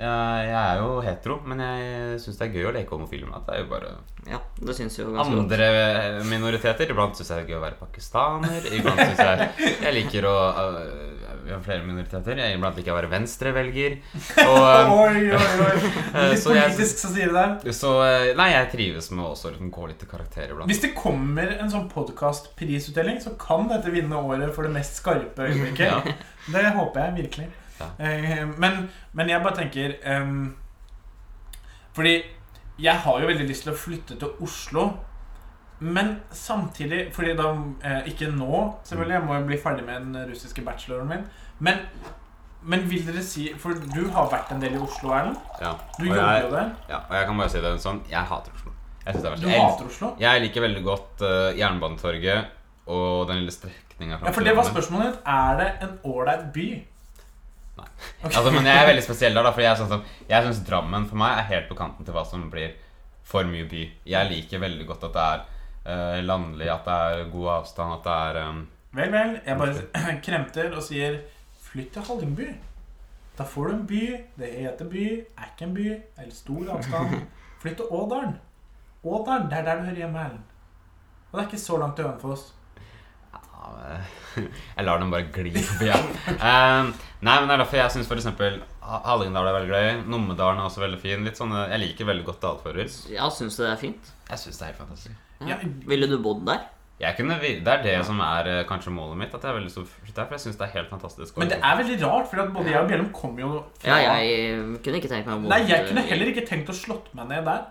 C: eh, jeg er jo hetero, men jeg syns det er gøy å leke homofil med at det er jo bare
A: Ja, det syns jo ganske godt.
C: andre eh, minoriteter. Iblant syns jeg det er gøy å være pakistaner. Iblant syns jeg jeg liker å eh, Vi har flere minoriteter. Jeg iblant liker å være venstrevelger. Og eh,
B: Oi, oi, oi. Litt
C: Så jeg-
B: politisk, så sier du der.
C: Så eh, nei, jeg trives med å også liksom gå litt i karakter iblant.
B: Hvis det kommer en sånn podkast-prisutdeling, så kan dette vinne året for det mest skarpe øyeblikket.
C: Ja.
B: Det håper jeg virkelig.
C: Ja.
B: Eh, Men, men jeg bare tenker ehm, Fordi jeg har jo veldig lyst til å flytte til Oslo. Men samtidig Fordi da eh, Ikke nå, selvfølgelig. Jeg må jo bli ferdig med den russiske bacheloren min. Men, men vil dere si For du har vært en del i Oslo, Erlend.
C: Ja.
B: Du
C: Og,
B: jobber
C: jeg,
B: jo der.
C: ja, og jeg kan bare si det sånn Jeg hater Oslo. Jeg, synes det er
B: Du
C: verst. jeg,
B: hater Oslo.
C: jeg liker veldig godt eh, Jernbanetorget og den lille strekninga
B: Ja, For det var spørsmålet ditt. Er det en ålreit by?
C: Nei.
B: Ok.
C: Altså, men jeg er veldig spesiell der, da, for jeg, er sånn som, jeg syns Drammen for meg er helt på kanten til hva som blir for mye by. Jeg liker veldig godt at det er eh, landlig, at det er god avstand, at det er eh,
B: Vel, vel. Jeg bare kremter og sier flytt til Hallingby. Da får du en by. Det heter by. Er ikke en by. Det er litt stor avstand. Flytt til Ådalen. Ådalen, det er der du hører hjemme, Erlend. Og det er ikke så langt til Hønefoss.
C: Ja, men- Jeg lar dem bare gli forbi. Ja. Eh, nei, men det er derfor jeg syns f.eks. Hallingdal er veldig gøy. Numedalen er også veldig fin. Litt sånne, jeg liker veldig godt dalfører.
A: Ja, syns du det er fint?
C: Jeg syns det er helt fantastisk.
A: Ja.
B: Ja.
A: Ville du bodd der?
C: Jeg kunne, vil- det er det som er eh, kanskje målet mitt. At jeg er veldig så flytt der, for jeg syns det er helt fantastisk.
B: Men det er veldig rart, for at både jeg og Bjellum kommer jo
A: Ja, jeg kunne ikke tenkt meg å bo
B: Nei, jeg kunne heller ikke tenkt å slått meg ned der.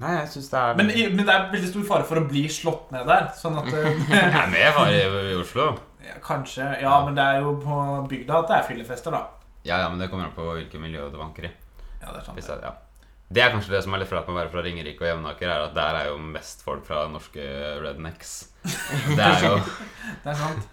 C: Nei, jeg syns det er
B: Men, i- men det er veldig stor fare for å bli slått ned der. Sånn at eh,
C: Nei, men jeg var i, i Oslo.
B: ja, Kanskje. Ja, men det er jo på bygda at det er fyllefester, da.
C: Ja, ja, men det kommer an på hvilket miljø du vanker i.
B: Ja, det er sant.
C: Hvis det, er- ja. det er kanskje det som er litt flaut med å være fra Ringerike og Jevnaker, er at der er jo mest folk fra norske rednecks. Det er jo
B: Det er sant.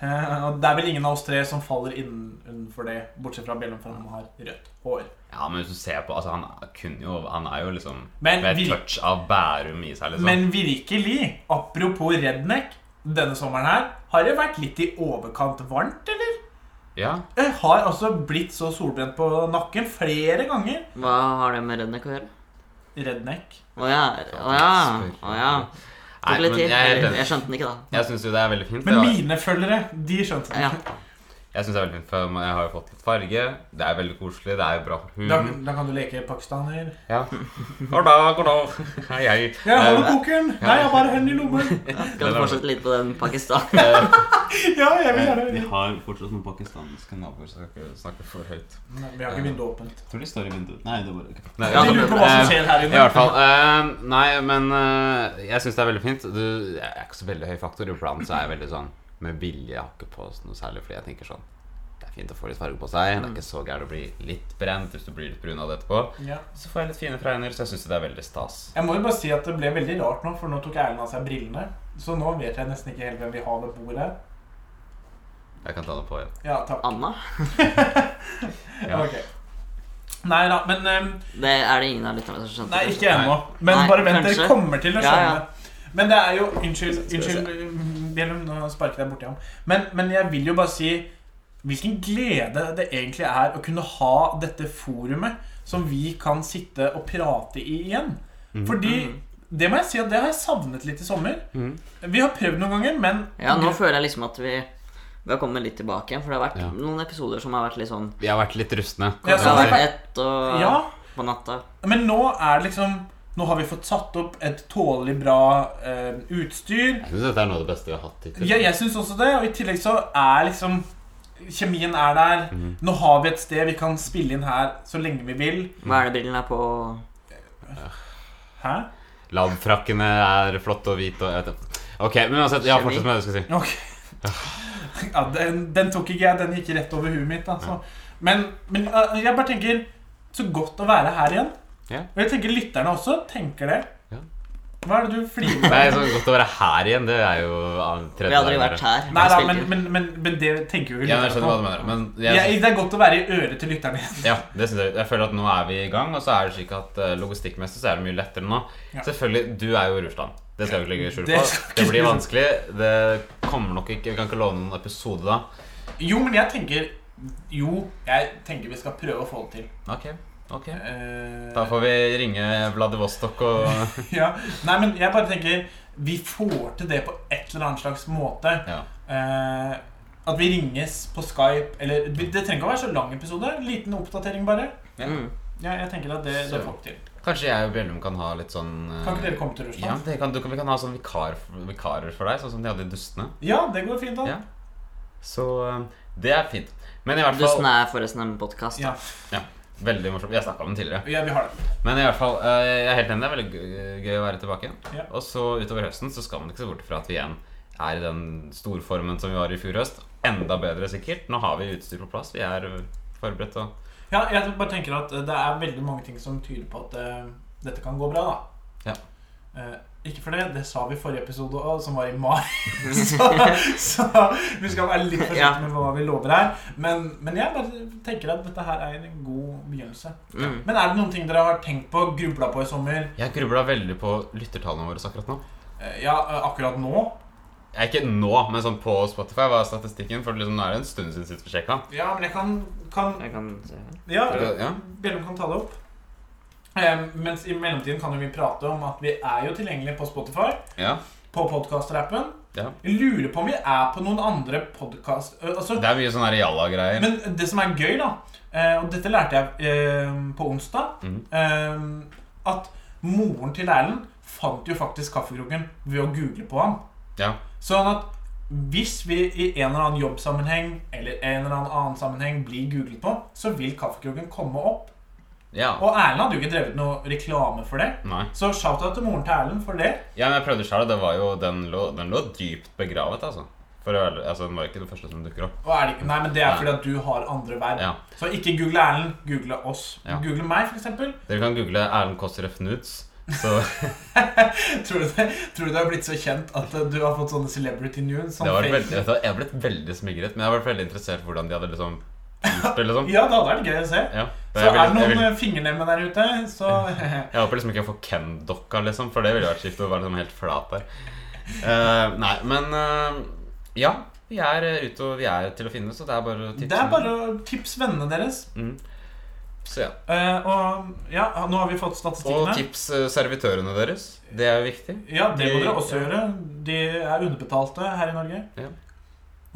B: Eh, og det er vel ingen av oss tre som faller innenfor det, bortsett fra Bjellum, for han har rødt hår.
C: Ja, men hvis du ser på altså, Han kunne jo Han er jo liksom
B: Men
C: Med et
B: vil-
C: touch av Bærum i seg, liksom.
B: Men virkelig, apropos redneck, denne sommeren her har det vært litt i overkant varmt, eller?
C: ja.
B: Jeg har altså blitt så solbrent på nakken flere ganger.
A: Hva har det med redneck å gjøre?
B: Redneck.
A: Å ja. Å ja. Å ja.
C: Nei,
A: Tok
C: men
A: litt
C: jeg
A: tid.
C: er helt
A: Jeg,
C: enig.
A: skjønte den ikke, da.
C: Jeg syns jo det er veldig fint.
B: Men
C: det var-
B: mine følgere, de skjønte det.
A: Ja.
C: Jeg synes det er veldig fint, for jeg har jo fått litt farge. Det er veldig koselig. Det er jo bra for
B: Da,
C: huden.
B: da kan du leke pakistaner.
C: Ja. God dag, god dag. Hei, hei.
B: Jeg holder
C: Eh,
B: kokeren! Nei, jeg har bare hendene i lommen.
A: Skal du fortsette litt på den Pakistan?
B: Ja, jeg vil gjerne
C: Vi har fortsatt noen pakistanske naboer, så jeg skal ikke snakke for høyt.
B: Nei, Vi har ikke vinduet åpent.
C: Jeg tror de står i vinduet. Nei, det var ikke Nei, Eh,
B: De lurer på hva som skjer her
C: I hvert
B: inne.
C: fall. eh, nei, men eh, jeg syns det er veldig fint. Du, jeg er ikke så veldig høy faktor. Iblant så er jeg veldig sånn med vilje jeg har ikke på noe særlig, fordi jeg tenker sånn Det er fint å få litt farge på seg. Det er ikke så gærent å bli litt brent hvis du blir litt brun av det etterpå.
B: Ja.
C: Så får jeg litt fine fregner, så jeg syns det er veldig stas.
B: Jeg må jo bare si at det ble veldig rart nå, for nå tok Erlend av seg brillene. Så nå vet jeg nesten ikke helt hvem vi har ved bordet.
C: Jeg kan ta det på igjen.
B: Ja, takk.
A: Anna?
C: Ja.
B: Ok. Nei da, men ehm,
A: Det er det ingen av lytterne som skjønte.
B: Nei,
A: kanskje.
B: ikke ennå. Men
A: Nei,
B: bare vent,
A: kanskje.
B: dere kommer til
A: Ja,
B: å
A: ja.
B: skjønne. Men det er jo Unnskyld, unnskyld mm, Bjellum, nå sparket jeg borti ham. Men, men jeg vil jo bare si hvilken glede det egentlig er å kunne ha dette forumet som vi kan sitte og prate i igjen. Fordi
A: Mm.
B: det må jeg si at det har jeg savnet litt i sommer. Vi har prøvd noen ganger, men
A: Ja, nå føler jeg liksom at vi, vi har kommet litt tilbake igjen. For det har vært
C: Ja.
A: noen episoder som har vært litt sånn
C: Vi har vært litt rustne.
B: Ja,
A: Det har
B: så-
A: vært ett og
B: ja,
A: på natta.
C: Eh.
B: Men nå er det liksom Nå har vi fått satt opp et tålelig bra eh, utstyr.
C: Jeg syns dette er noe av det beste vi har hatt hittil.
B: Jeg, jeg syns også det. Og i tillegg så er liksom Kjemien er der.
C: Mhm.
B: Nå har vi et sted vi kan spille inn her så lenge vi vil.
A: Hva er det brillen er på?
B: Hæ?
C: Labfrakkene er flotte og hvite og jeg vet ikke. Ok, men uansett, ja,
A: Kjemi.
C: fortsett med det du skulle si.
B: Ok. Ja, den, den tok ikke jeg. Den gikk rett over huet mitt. Altså. Men, men eh, jeg bare tenker Så godt å være her igjen.
C: Ja.
B: Og jeg tenker lytterne også tenker det.
C: Ja.
B: Hva er det du flirer
C: Det er så godt å være her igjen. Det er jo av-
A: Vi
C: tredje
A: har aldri
C: dagen her.
A: vært her.
B: Nei
A: og
B: da,
A: spilt
B: men,
A: inn.
B: men, men, men det tenker jo
C: Ja,
B: ikke
C: men jeg skjønner hva du
B: på.
C: mener. Men
B: Ja,
C: jeg,
B: det er godt å være i øret til lytterne igjen.
C: ja, det synes jeg. Jeg føler at nå er vi i gang, og så er det slik at eh, logistikkmessig så er det mye lettere nå.
B: Ja.
C: Selvfølgelig, du er jo i Russland. Det skal vi ikke legge skjul
B: Det
C: på.
B: skal
C: Det
B: ikke
C: blir
B: vi-
C: vanskelig. Det kommer nok ikke Vi kan ikke love noen episode da.
B: Jo, men jeg tenker Jo, jeg tenker vi skal prøve å få det til.
C: Ok, ok.
B: Eh,
C: Da får vi ringe Vladivostok og
B: ja. Nei, men jeg bare tenker Vi får til det på et eller annet slags måte.
C: Ja.
B: Eh, at vi ringes på Skype eller Det trenger ikke å være så lang episode. Liten oppdatering, bare.
C: Ja.
A: mm.
B: Ja, jeg tenker at det, det får vi til.
C: Kanskje jeg og Bjellum kan ha litt sånn eh,
B: Kan ikke dere komme til
C: Ja,
B: Russland?
C: det kan, du kan, vi kan ha sånn vikar, vikarer for deg, sånn som de hadde i Dustene.
B: Ja, det går fint, da.
C: Ja. Så eh, det er fint. Men i hvert fall
A: Dusten er forresten en podkast.
B: Ja,
C: Veldig morsomt. Jeg snakka om den tidligere.
B: ja vi har det.
C: Men i hvert fall, eh, jeg er helt enig. Det er veldig gøy- gøy å være tilbake igjen.
B: Ja.
C: Og så utover høsten så skal man ikke se bort fra at vi igjen er i den storformen som vi var i fjor høst. Enda bedre, sikkert. Nå har vi utstyr på plass. Vi er eh, forberedt og
B: Ja, jeg bare tenker at eh, det er veldig mange ting som tyder på at eh, dette kan gå bra, da.
C: Ja.
B: Eh, ikke for det, det sa vi i forrige episode også, som var i mai. så, så vi skal være litt forsiktige
A: Ja.
B: med hva vi lover her. Men, men jeg bare tenker at dette her er en god begynnelse.
A: Mm.
B: Men er det noen ting dere har tenkt på, grubla på i sommer?
C: Jeg grubla veldig på lyttertallene våre akkurat nå.
B: Eh, ja, eh, akkurat nå?
C: Jeg er ikke nå, men sånn på Spotify var statistikken. For liksom, nå er det en stund siden sist vi sjekka.
B: Ja, men jeg kan, kan
A: Jeg kan se her.
B: Ja,
C: Ja.
B: Bjellum kan ta det opp. Eh, mens i mellomtiden kan jo vi prate om at vi er jo tilgjengelige på Spotify.
C: Ja.
B: på podkast-rappen.
C: Ja.
B: Jeg lurer på om vi er på noen andre podkast... Altså,
C: Det er mye sånn her jalla-greier.
B: men det som er gøy, da, eh, og dette lærte jeg eh, på onsdag
C: Mhm.
B: eh, At moren til Erlend fant jo faktisk kaffekroken ved å google på ham.
C: Ja.
B: Sånn at hvis vi i en eller annen jobbsammenheng eller en eller annen annen sammenheng blir googlet på, så vil kaffekroken komme opp.
C: ja.
B: Og Erlend hadde jo ikke drevet noe reklame for det.
C: Nei.
B: Så shout-out til moren til Erlend for det.
C: Ja, men jeg prøvde sjøl, og det var jo Den lå, den lå dypt begravet, altså. For å være ærlig, altså, Den var ikke det første som dukker opp.
B: Og er det ikke, nei, men Det er
C: Nei.
B: fordi at du har andre verv.
C: Ja.
B: Så ikke google Erlend, google oss.
C: Ja.
B: Google meg, for eksempel.
C: Dere kan google Erlend Kåss Refnuts. Så
B: Tror du, det, tror du det har blitt så kjent at eh, du har fått sånne celebrity news? Sånn
C: det var
B: Facebook?
C: veldig, vet du, hva, jeg ble veldig smigret, men jeg var veldig interessert i hvordan de hadde liksom gjort det. liksom
B: Ja, det hadde vært gøy å se.
C: ja.
B: Så
C: jeg,
B: er
C: vil,
B: det
C: jeg,
B: noen
C: vil,
B: eh, fingernemme der ute, så
C: jeg håper liksom ikke jeg får Ken-dokka, liksom, for det ville vært kjipt å være liksom helt flat der. Eh, nei, men eh, ja. Vi er eh, ute, og vi er til å finne, så det er bare å tipse.
B: Det er bare å tipse vennene deres.
C: mm. Så ja.
B: Eh, og ja, nå har vi fått
C: Og
B: statistikkene.
C: tips eh, servitørene deres. Det er jo viktig.
B: Ja, det må
C: De-
B: dere også gjøre. De er underbetalte her i Norge.
C: Ja.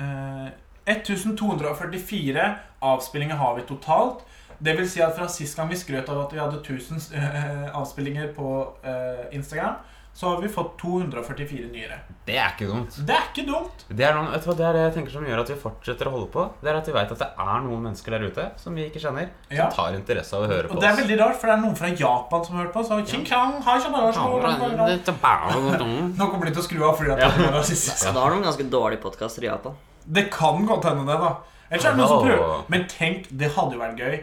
B: Eh, 1244 avspillinger har vi totalt. Det vil si at fra sist gang vi skrøt av at vi hadde 1000 eh, avspillinger på eh, Instagram, så har vi fått 244 nyere.
C: Det er ikke dumt.
B: Så det er ikke dumt.
C: Det er, noen, vet du hva, det er det jeg tenker som gjør at vi fortsetter å holde på. Det er at vi vet at det er noen mennesker der ute som vi ikke kjenner, som
B: Ja.
C: tar interesse av å høre
B: Og
C: på
B: det er
C: oss.
B: veldig rart, for det er noen fra Japan som har hørt på. Så King Kang, hei, shabba, shabba, shabba. Nå kommer de til å skru av fordi at det er rasistisk.
A: Så da har de ganske dårlige podkaster i Japan.
B: Det kan godt hende det, da. Ellers er det noen som
C: Hallo.
B: prøver. Men tenk, det hadde jo vært gøy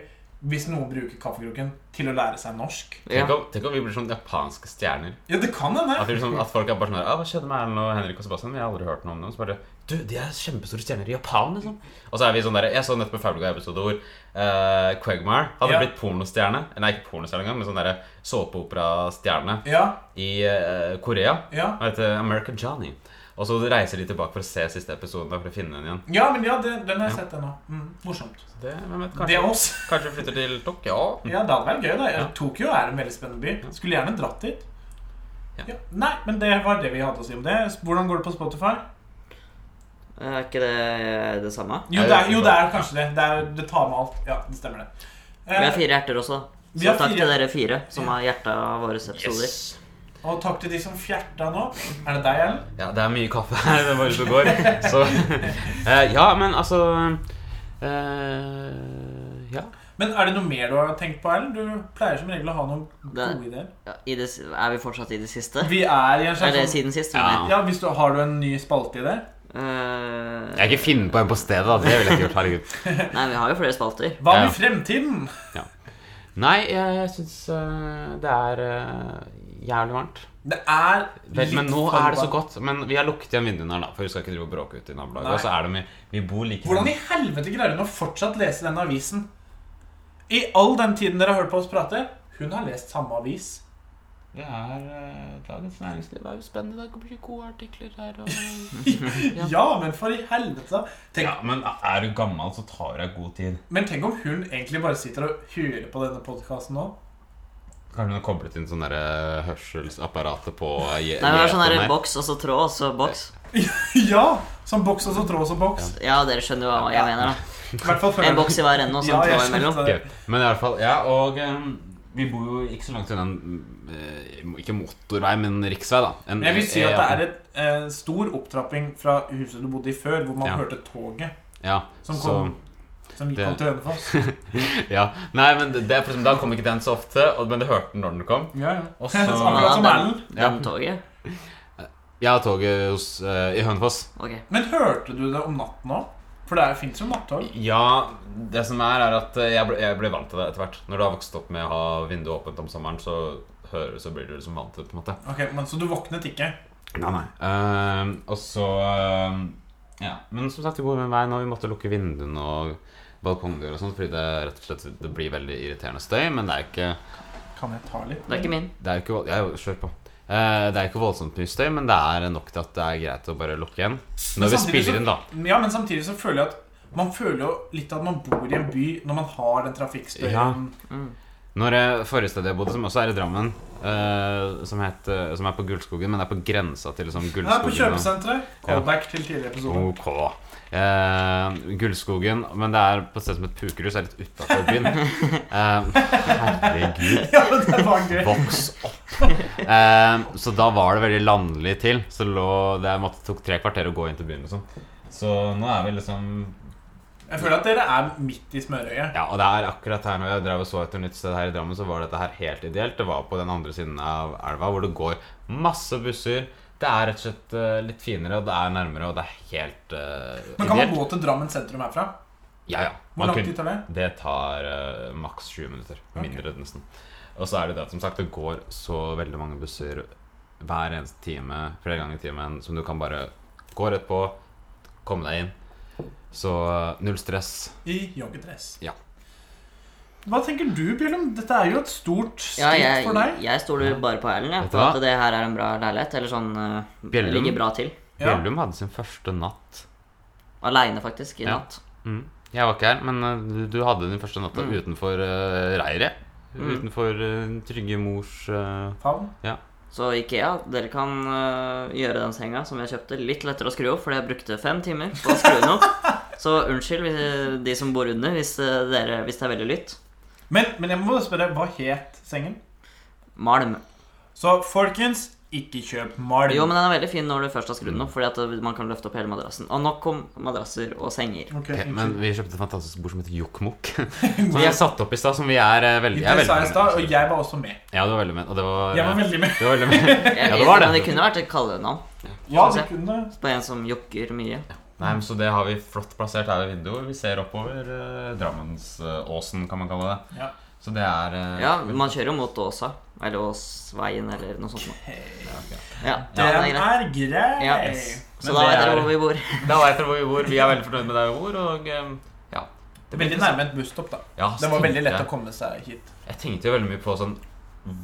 B: hvis noen bruker kaffekroken til å lære seg norsk.
A: Ja.
C: Tenk, om, tenk om vi blir sånn japanske stjerner.
B: Ja, det kan hende.
C: At, vi liksom, at folk er bare sånn her ah, 'Hva skjedde med Erlend og Henrik og Sebastian?' Vi har aldri hørt noe om dem. Så bare 'Du, de er kjempestore stjerner i Japan', liksom. Og så er vi sånn der Jeg så nettopp en Fauleguy-episode hvor eh, Quagmire hadde
B: Ja.
C: blitt pornostjerne. Nei, ikke pornostjerne engang, men sånn derre såpeoperastjerne
B: Ja,
C: i eh, Korea.
B: ja.
C: Han heter American Johnny. Og så reiser de tilbake for å se siste episoden da, for å finne henne igjen.
B: ja men ja, det, den har jeg sett ennå. Mm, morsomt.
C: Det, hvem vet,
B: Det
C: kanskje,
B: er oss.
C: kanskje vi flytter til Tokyo?
B: Ja, det hadde vært gøy. da
C: Ja.
B: Tokyo er en veldig spennende by. Skulle gjerne dratt dit.
C: Ja.
B: Ja. Nei, men det var det vi hadde å si om det. Hvordan går det på Spotify?
A: Er ikke det det samme?
B: Jo,
C: Ja,
B: det er,
C: det er
B: jo, det er kanskje det. Det, er, det tar med alt. Ja, det stemmer, det.
A: Vi har
B: Eh,
A: fire hjerter også. da.
B: Vi
A: Så
B: har
A: takk
B: fire-
A: til dere fire som
B: Ja.
A: har hjerta av våre episoder.
B: og takk til de som fjerta nå. Er det deg, Ellen?
C: Ja, det er mye kaffe her. Det er bare ute og går. Så eh, Ja, men altså eh, Ja.
B: Men er det noe mer du har tenkt på, Ellen? Du pleier som regel å ha noen
A: Det-
B: gode ideer.
A: Ja, i det, si- er vi fortsatt i det siste?
B: Vi er i en
A: Er det
B: slags sånn-
A: siden sist?
C: Ja.
A: mener jeg?
B: ja, hvis du, Har du en ny spalteidé?
A: Eh,
C: Jeg har ikke funnet på en på stedet. da, Det ville jeg ikke gjort. Herregud.
A: nei, vi har jo flere spalter.
B: Hva med
C: Ja.
B: fremtiden?
C: Nei, jeg, jeg syns eh, det er eh, jævlig varmt.
B: Det er
C: Vel,
B: litt
C: men nå
B: for
C: er det så
B: varmt.
C: godt. Men vi har lukket igjen vinduene her, da. For vi skal ikke drive og bråke ute i nabolaget.
B: Nei.
C: Og så er det mye Vi bor like
B: Hvordan i helvete greier hun å fortsatt lese denne avisen? I all den tiden dere har hørt på oss prate, hun har lest samme avis.
C: Det er eh, Dagens Næringsliv er jo spennende. Det kommer mye gode artikler her. Og...
B: Ja, men for i helvete. Tenk,
C: ja, men er du gammel, så tar det god tid.
B: Men tenk om hun egentlig bare sitter og hører på denne podkasten nå.
C: Kanskje hun har koblet inn sånn derre hørselsapparatet på eh, je-
A: Nei, vi har sånn
C: gjeteren
A: her
C: her.
A: boks og så tråd og så boks.
B: ja! Som boks og så tråd som boks.
A: Ja, dere skjønner jo hva jeg mener, da.
B: I hvert fall før
A: En boks i hver ende og så
B: Ja,
A: en
B: jeg
A: tråd imellom.
B: skjønte det.
C: Ok, Men i hvert fall Ja, og eh, vi bor jo ikke så langt unna en eh, Ikke motorvei, men riksvei, da. En,
B: Jeg vil si at det er en eh, stor opptrapping fra huset du bodde i før, hvor man
C: Ja.
B: hørte toget
C: Ja,
B: som
C: så-
B: kom. Som gikk
C: det-
B: om til Hønefoss.
C: Ja. Nei, men det, det er for eksempel- da kom ikke den så ofte, og- men du hørte den når den kom.
B: Ja, ja.
C: Og så-
B: Akkurat som
A: Ja,
B: Erlend.
C: Ja.
A: Den toget.
C: Jeg har toget hos, eh, i Hønefoss.
A: Ok.
B: Men hørte du det om natten òg? For det fins jo nattog.
C: Ja, det som er, er at eh, jeg ble, jeg ble vant til det etter hvert. Når du har vokst opp med å ha vinduet åpent om sommeren, så, hører, så blir du liksom vant til det, på en måte.
B: Ok, men Så du våknet ikke?
C: Nei, nei. Ehm, og så eh, Ja. Men som sagt, vi bor ved en vei nå. Vi måtte lukke vinduene og balkongdøra og sånt, fordi det rett og slett det blir veldig irriterende støy. Men det er ikke
B: Kan jeg ta litt?
A: Det er ikke min.
C: Det er jo ikke, vold- ja, kjør på. Eh, det er ikke voldsomt mye støy, men det er nok til at det er greit å bare lukke igjen.
B: Men
C: Når vi
B: samtidig så-
C: spiller inn, da.
B: Ja, men samtidig så føler jeg at man føler jo litt at man bor i en by når man har den trafikkstøyen.
C: Ja. Når jeg, Forrige sted jeg bodde, som også er i Drammen, eh, som, het, eh, som er på Gullskogen, men det er på grensa til liksom
B: Her på
C: Gullskogen. og-
B: kjøpesenteret. Callback til tidligere episode.
C: Ok. Eh, Gullskogen, men det er på et sted som heter Pukerhus, er litt utafor byen. Eh, herregud,
B: Ja, men det var gøy.
C: voks opp! Eh, så da var det veldig landlig til. Så lå, det måtte, tok tre kvarter å gå inn til byen. Liksom. Så nå er vi liksom
B: Jeg føler at dere er midt i smørøyet.
C: Ja, og det er akkurat her når jeg drev og så etter nytt sted her i Drammen, så var dette her helt ideelt. Det var på den andre siden av elva, hvor det går masse busser. Det er rett og slett eh, litt finere, og det er nærmere, og det er helt eh,
B: Men kan man
C: ideelt.
B: gå til Drammen sentrum herfra?
C: Ja, ja.
B: Hvor
C: Man
B: lang
C: kunne-
B: tid tar det?
C: Det tar eh, maks 20 minutter.
B: Ok.
C: Mindre, nesten. Og så er det det at som sagt, det går så veldig mange busser hver eneste time, flere ganger i timen, som du kan bare gå rett på, komme deg inn. Så eh, null stress.
B: I joggedress.
C: Ja.
B: Hva tenker du, Bjørnum? Dette er jo et stort skritt
A: Ja, jeg,
B: for deg.
A: jeg stoler bare på Erlend, jeg.
C: Vet du
A: For
C: hva?
A: at det her er en bra leilighet. Eller sånn eh,
C: Bjellum.
A: Ligger bra til.
B: Ja.
C: Bjellum hadde sin første natt.
A: Aleine, faktisk, i
C: Ja.
A: natt.
C: Mm. Jeg var ikke her, men eh, du- du hadde din første natt
A: Mm.
C: utenfor uh, reiret.
A: Mm.
C: Utenfor eh, trygge mors eh,
B: Favn.
A: Så Ikea, dere kan øh, gjøre den senga som jeg kjøpte, litt lettere å skru opp, fordi jeg brukte fem timer på å skru den opp. Så unnskyld hvis- eh, de som bor under, hvis, øh, dere, hvis det er veldig lytt.
B: Men, men jeg må bare spørre, hva het sengen?
A: Malm.
B: Så folkens, ikke kjøp malm.
A: Jo, men den er veldig fin når du først har skrudd den opp, fordi at eh, man kan løfte opp hele madrassen. Og nok om madrasser og senger.
B: Ok,
C: Pe-
B: unnskyld.
C: Men vi kjøpte et fantastisk bord som heter Jokkmokk. Som vi har satt opp i stad, som vi er eh, veldig, jeg er
B: Det sa jeg
C: veldig
B: i stad,
C: fornøyd med.
B: og jeg var også med.
C: Ja, du var veldig med. Og det var,
B: Jeg var veldig med.
C: det var veldig med.
A: Jeg
C: Ja, det
A: vet,
C: var det.
A: Men det kunne vært et kallenavn
B: Ja,
A: Sånn
B: det
A: ser.
B: kunne
A: på en som jokker mye.
C: Nei, men Så det har vi flott plassert her ved vinduet. Vi ser oppover eh, Drammensåsen, kan man kalle det.
B: Ja.
C: Så det er eh,
A: Ja, man kjører jo mot Åsa. Eller Åsveien, eller noe sånt. nå. Ja, ja, det er
B: Den
A: greit.
B: er grei.
A: Ja. Så
C: Men
A: da
C: det
A: vet dere
C: er-
A: hvor vi bor.
C: Da veit dere hvor vi bor. Vi er veldig fornøyd med der vi bor. Og eh, ja.
B: Det er Veldig nærme et busstopp, da.
C: Ja,
B: Det var veldig lett å
C: jeg,
B: komme seg hit.
C: Jeg tenkte jo veldig mye på sånn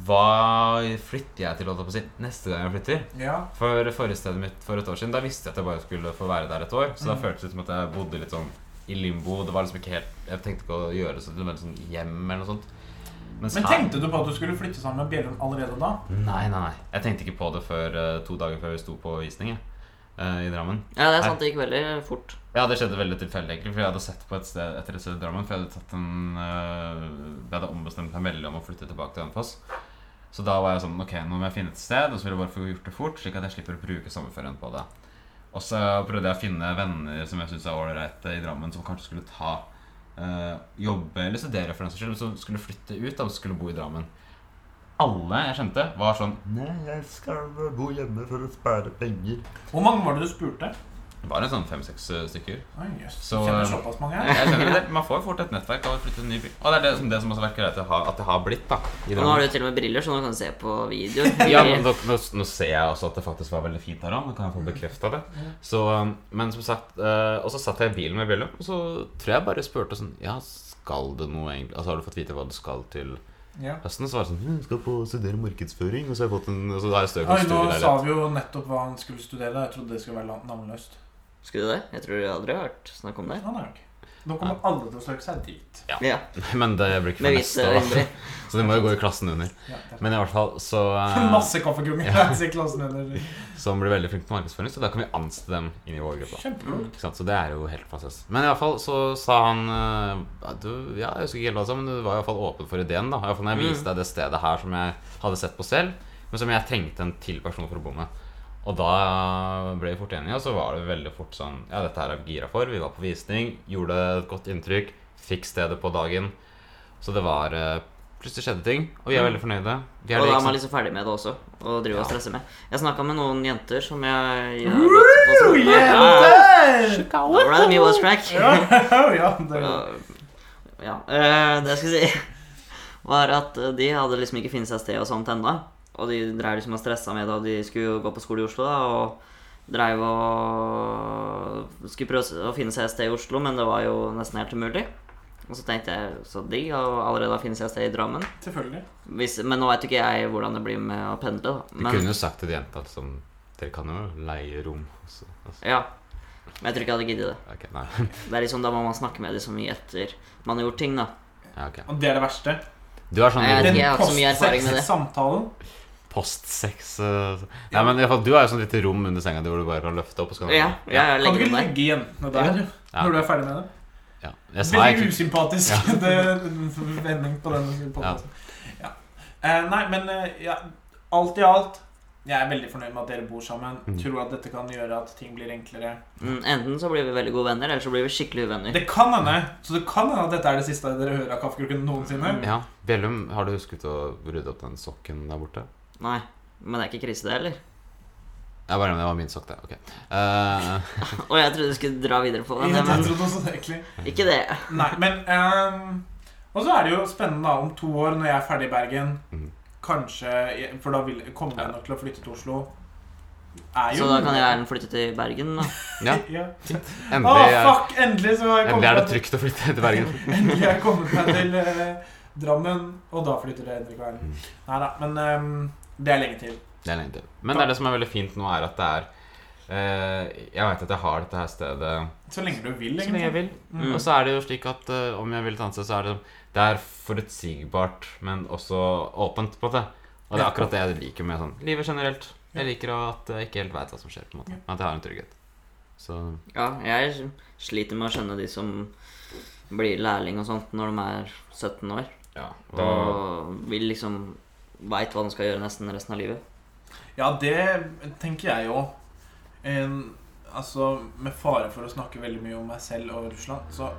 C: Hva flytter jeg til holdt jeg på å si, neste gang jeg flytter?
B: Ja.
C: For forrige stedet mitt for et år siden, da visste jeg at jeg bare skulle få være der et år. Så da
B: Mm.
C: føltes det ut som at jeg bodde litt sånn i limbo. Det var liksom ikke helt Jeg tenkte ikke å gjøre det til et veldig sånn hjem eller noe sånt. Mens
B: Men
C: her-
B: tenkte du på at du skulle flytte sammen med Bjellum allerede da?
C: Nei, nei, nei. Jeg tenkte ikke på det før eh, to dager før vi sto på visning jeg, eh, i Drammen.
A: Ja, det er sant. Det gikk veldig fort.
C: Ja, det skjedde veldig tilfeldig, egentlig, for jeg hadde sett på et sted etter et sted i Drammen. For jeg hadde, tatt en, eh, jeg hadde ombestemt meg veldig om å flytte tilbake til Hønefoss. Så da var jeg sånn Ok, nå må jeg finne et sted, og så vil jeg bare få gjort det fort, slik at jeg slipper å bruke sommerferien på det. Og så prøvde jeg å finne venner som jeg syntes er ålreite i Drammen, som kanskje skulle ta eh, jobbe eller studere for den saks skyld, men som skulle flytte ut da, og skulle bo i Drammen. Alle jeg kjente, var sånn
E: Nei, jeg skal bo hjemme for å spare penger.
B: Hvor mange var det du spurte?
C: Det var en sånn fem-seks eh, stykker.
B: Oi, jøss.
C: Så,
B: Kjenner
C: eh,
B: såpass mange her.
C: Jeg skjønner det. Man får jo fort et nettverk av å flytte til en ny by. Og det er det som, det som også har vært greit at det har- at det har blitt, da. I
A: Og nå har
C: Drammen.
A: du til og med briller, så nå kan du se på videoer.
C: Ja, men nå, nå, nå ser jeg også at det faktisk var veldig fint her òg. Nå kan jeg få bekrefta det. Så, um, men som sagt eh, Og så satt jeg i bilen med Bjellum, og så tror jeg bare spurte sånn Ja, skal det noe egentlig Altså, har du fått vite hva du skal til
B: Ja.
C: høsten? Så var det sånn Hun skal på studere markedsføring, og så har jeg fått en Og så har jeg støv
B: Oi,
C: for
B: nå sa
C: studieleilighet.
B: vi jo nettopp hva han skulle studere. Jeg trodde det skulle være la- navnløst.
A: Skulle du det? Jeg tror du aldri har hørt snakk om det.
B: Ja, nei, ok. Nå kommer alle til å søke seg dit.
A: Ja,
C: Men det blir ikke
A: Med
C: før
A: hvite
C: neste år, da.
A: øyne.
C: Så det må jo gå i klassen under.
B: Ja, det er-
C: Men i hvert fall så eh,
B: Masse kaffekonger langs i klassen under.
C: Som blir veldig flink til markedsføring, så da kan vi ansette dem inn i vår gruppe.
B: Kjempebra.
C: Ikke sant? Så det er jo helt fantastisk. Men i alle fall så sa han eh, at du, Ja, jeg husker ikke helt hva han sa, men du var i hvert fall åpen for ideen. da I hvert fall når
A: Mm.
C: jeg viste deg det stedet her som jeg hadde sett på selv, men som jeg trengte en til person for å bo med. Og da ble vi fort enige, og så var det veldig fort sånn Ja, dette her er vi gira for. Vi var på visning, gjorde et godt inntrykk, fikk stedet på dagen. Så det var eh, Plutselig skjedde ting, og vi er veldig fornøyde. Vi er
A: Mm. Og da er
C: ikke
A: man
C: sant?
A: liksom ferdig med det også. Og driver og
C: Ja.
A: stresser med. Jeg snakka med noen jenter som jeg jeg har gått på skole med. Ja,
B: Jenter!
A: Da ble det mye voice crack.
B: Ja, ja, det
A: Og- Ja. eh, Det jeg skulle si, var at de hadde liksom ikke funnet seg sted og sånt ennå. Og de dreiv liksom og stressa med det, og de skulle jo gå på skole i Oslo, da, og dreiv og skulle prøve å finne seg et sted i Oslo, men det var jo nesten helt umulig. Og så tenkte jeg så digg, og allerede da finnes jeg et sted i Drammen.
B: Selvfølgelig.
A: Hvis, men nå veit jo ikke jeg hvordan det blir med å pendle, da.
C: Vi
A: Men,
C: kunne jo sagt til de jenta at liksom, dere kan jo leie rom. Også. Altså,
A: Ja. Men jeg tror ikke jeg hadde giddet det.
C: ok, nei.
A: Det er liksom Da må man snakke med de så mye etter man har gjort ting, da.
C: Ja, ok.
B: Og det er det verste.
C: Du er sånn
A: Nei, jeg vet
C: liten
A: ikke, jeg har ikke så mye erfaring med det.
B: postsex-samtalen.
C: postsex eh, Nei, men i hvert fall, du er jo sånn lite rom under senga di hvor du bare kan løfte opp. Og så kan du-
A: Ja, ja, jeg
B: Kan du
A: legger
B: ikke
A: den der.
B: legge jentene der
C: Ja.
B: når du er ferdig med det?
C: ja. Jeg sa
B: Veldig
C: egentlig
B: usympatisk det- vending på den podcasten. Ja. Eh, nei, men eh, ja, alt i alt Jeg er veldig fornøyd med at dere bor sammen.
C: Mm.
B: Tror at dette kan gjøre at ting blir enklere.
A: Mm, Enten så blir vi veldig gode venner, eller så blir vi skikkelig uvenner.
B: Det kan hende så det kan hende at dette er det siste dere hører av Kaffekroken
A: Mm.
B: noensinne.
C: ja. Bjellum, har du husket å rydde opp den sokken der borte?
A: Nei, men det er ikke krise, det heller.
C: Jeg bare, det var min sokk, det. Ok. Eh,
A: Og jeg trodde du skulle dra videre på den,
B: Jeg
A: men
B: trodde også det, egentlig.
A: ikke det.
B: Nei, men ehm, Og så er det jo spennende da, om to år, når jeg er ferdig i Bergen
C: Mhm.
B: Kanskje jeg- For da vil, kommer jeg nok til å flytte til Oslo. Er
A: Så da kan jeg Erlend flytte til Bergen, da.
C: ja,
B: ja. Å,
C: endelig, er-
B: fuck! Endelig så har jeg
C: endelig
B: kommet
C: er det
B: meg til-
C: trygt å flytte til Bergen.
B: Endelig har jeg kommet meg til eh, Drammen, og da flytter det Henrik Verden. Nei da, men ehm, det er lenge til.
C: Det er lenge til. Men det er det som er veldig fint nå, er at det er eh, Jeg veit at jeg har dette her stedet
B: Så lenge du vil,
C: så lenge
B: egentlig.
C: jeg vil.
A: Mm.
C: Og så er det jo slik at eh, om jeg vil et annet sted, så er det Det er forutsigbart, men også åpent, på en måte. Og det er
B: Ja.
C: akkurat det jeg liker med sånn livet generelt. Jeg liker at jeg ikke helt veit hva som skjer, på en måte. Men at jeg har en trygghet. Så
A: Ja, jeg sliter med å skjønne de som blir lærling og sånt når de er 17 år.
C: ja. Og,
A: Og vil liksom veit hva de skal gjøre nesten resten av livet.
B: Ja, det tenker jeg òg. Altså, med fare for å snakke veldig mye om meg selv og Russland, så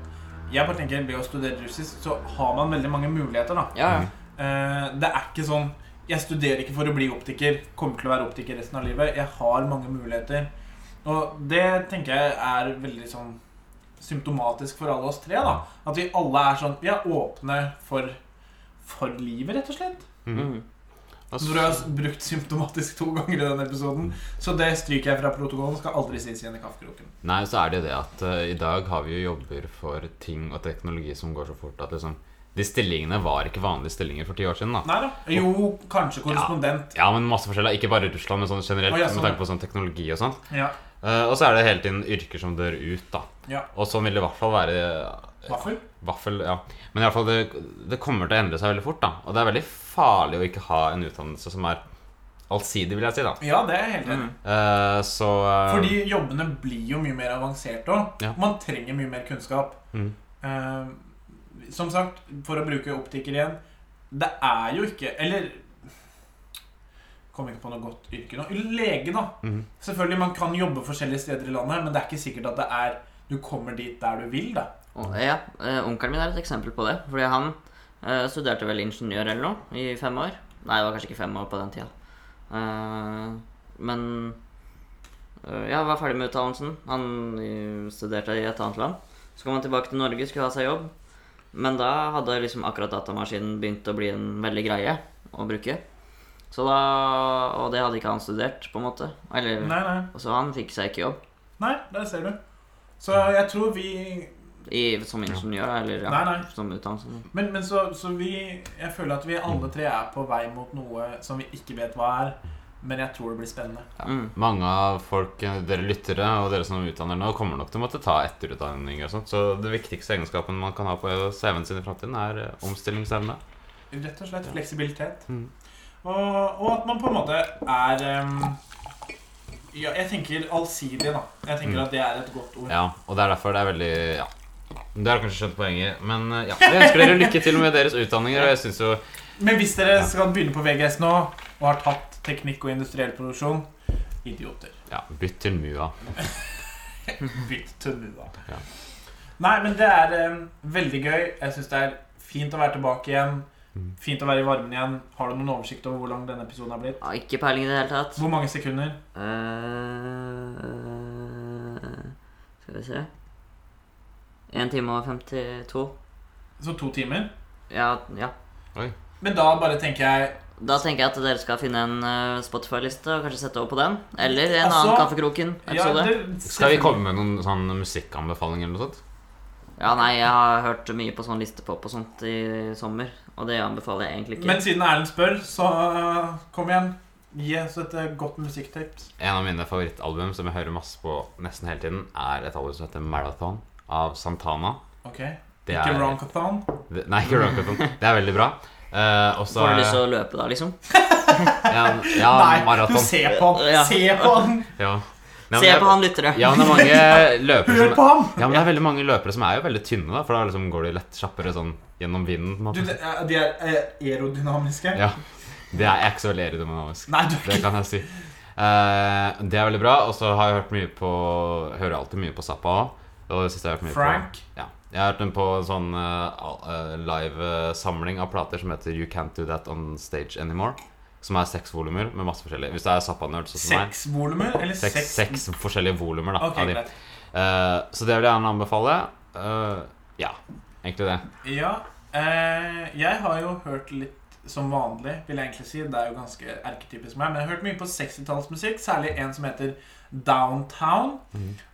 B: jeg bare tenker, ved å studere russisk, så har man veldig mange muligheter, da.
A: Ja, ja.
B: Eh, det er ikke sånn Jeg studerer ikke for å bli optiker. Kommer til å være optiker resten av livet. Jeg har mange muligheter. Og det tenker jeg er veldig sånn symptomatisk for alle oss tre. da At vi alle er sånn Vi er åpne for, for livet, rett og slett.
A: Mhm.
C: Mm. og
B: Når du har brukt symptomatisk to ganger i denne episoden. Så det stryker jeg fra protokollen. Skal aldri sies igjen i kaffekroken.
C: Nei, så er det jo det at eh, i dag har vi jo jobber for ting og teknologi som går så fort at liksom De stillingene var ikke vanlige stillinger for ti år siden, da.
B: Nei da. Jo, kanskje korrespondent.
C: Ja, men masse forskjellig. Ikke bare i Russland, men sånn generelt.
B: Å, ja, sånn,
C: Med tanke på sånn teknologi og sånt.
B: Ja.
C: Eh, og så er det hele tiden yrker som dør ut, da.
B: Ja.
C: Og sånn vil det i hvert fall være
B: Vaffel.
C: Vaffel, ja. Men i hvert fall, det, det kommer til å endre seg veldig fort, da. Og det er veldig farlig å ikke ha en utdannelse som er allsidig, vil jeg si, da.
B: Ja, det er jeg helt enig i.
C: Eh, så eh,
B: Fordi jobbene blir jo mye mer avanserte òg.
C: Ja.
B: Man trenger mye mer kunnskap.
C: Mm.
B: Eh, som sagt, for å bruke optiker igjen Det er jo ikke Eller Kom ikke på noe godt yrke nå. Lege, da.
C: Mhm.
B: Selvfølgelig, man kan jobbe forskjellige steder i landet, men det er ikke sikkert at det er du kommer dit der du vil, da.
A: Og, ja, eh, Onkelen min er et eksempel på det. Fordi han eh, studerte vel ingeniør eller noe i fem år. Nei, det var kanskje ikke fem år på den tida. Eh, men eh, ja, var ferdig med utdannelsen. Han eh, studerte i et annet land. Så kom han tilbake til Norge, skulle ha seg jobb. Men da hadde liksom akkurat datamaskinen begynt å bli en veldig greie å bruke. Så da, Og det hadde ikke han studert, på en måte. Eller,
B: Nei, nei.
A: Så han fikk seg ikke jobb
B: Nei, der ser du. Så jeg tror vi
A: i, som ingeniør. Eller ja,
B: Nei, nei.
A: som utdannelse.
B: Men, men så, så vi Jeg føler at vi alle tre er på vei mot noe som vi ikke vet hva er, men jeg tror det blir spennende.
A: Mm.
C: Mange av folk, eh, dere lyttere og dere som utdanner nå, kommer nok til å måtte ta etterutdanning og sånt. Så det viktigste egenskapen man kan ha på CV-en sin i fremtiden, er eh, omstillingsevne.
B: Rett og slett fleksibilitet.
C: Mm.
B: Og, og at man på en måte er em, Ja, jeg tenker allsidig, da. Jeg tenker
C: Mm.
B: at det er et godt ord.
C: Ja, og det er derfor det er veldig Ja. Dere har kanskje skjønt poenget, men eh, ja. Jeg ønsker dere lykke til med deres utdanninger, og jeg syns jo
B: Men hvis dere skal begynne på VGS nå, og har tatt teknikk og industriell produksjon Idioter.
C: Ja, bytt til MUA.
B: Bytt til NUA.
C: Ja.
B: Nei, men det er em, veldig gøy. Jeg syns det er fint å være tilbake igjen.
C: Mm.
B: Fint å være i varmen igjen. Har du noen oversikt over hvor lang denne episoden har blitt?
A: Ja, ikke peiling i det hele tatt.
B: Hvor mange sekunder?
A: Eh, skal vi se 1 time og 52.
B: Så to timer?
A: Ja, ja.
B: Men da bare tenker jeg
A: Da tenker jeg at dere skal finne en eh, Spotify-liste og kanskje sette over på den. Eller en
B: Altså,
A: annen Kaffekroken-episode. Ja,
B: det-
C: Skal vi komme med noen sånn musikkanbefaling eller noe sånt?
A: nei, jeg har hørt mye på sånn listepop og sånt i sommer, og det anbefaler jeg egentlig ikke.
B: Men siden Erlend spør, så øh, kom igjen. Gi oss et øh, godt musikktips.
C: En av mine favorittalbum som jeg hører masse på nesten hele tiden, er et album som heter Marathon av Santana.
B: Ok,
C: Det
B: Ikke
C: er-
B: Ronkathon.
C: Det, nei, ikke Ronkathon. Det er veldig bra. Eh, og så
A: Får du lyst til å løpe da, liksom?
C: Ja, ja
B: Nei, du
C: maraton.
B: ser på han!
A: Ja.
B: Se på han!
C: Ja. Nei, men
A: Se
C: det er-
A: på han lyttere.
C: Ja, men det er mange løpere
B: Hør
C: som
B: på ham!
C: Ja, men det er veldig mange løpere som er jo veldig tynne, da, for da liksom går de lett kjappere sånn gjennom vinden. på en
B: Du,
C: måte.
B: det er- de er øh, aerodynamiske.
C: Ja. Det er jeg er ikke så veldig aerodynamisk.
B: Nei, du er ikke
C: Det kan jeg si. Eh, det er veldig bra. Og så har jeg hørt mye på Hører alltid mye på Zappa òg. Og det siste jeg har hørt mye
B: Frank.
C: på Ja. Jeg har hørt den på en sånn eh, al- eh, live eh, samling av plater som heter You Can't Do That On Stage Anymore. Som er seks volumer med masse forskjellig. Hvis det er Zappa-nerd, sånn som meg.
B: Seks volumer? Eller
C: Seks,
B: seks?
C: seks forskjellige volumer, da.
B: Ok,
C: av de.
B: greit.
C: Eh, så det vil jeg gjerne anbefale. Eh, ja, egentlig det.
B: Ja. Eh, jeg har jo hørt litt som vanlig, vil jeg egentlig si. Det er jo ganske erketypisk meg. Men jeg har hørt mye på 60-tallsmusikk, særlig en som heter Downtown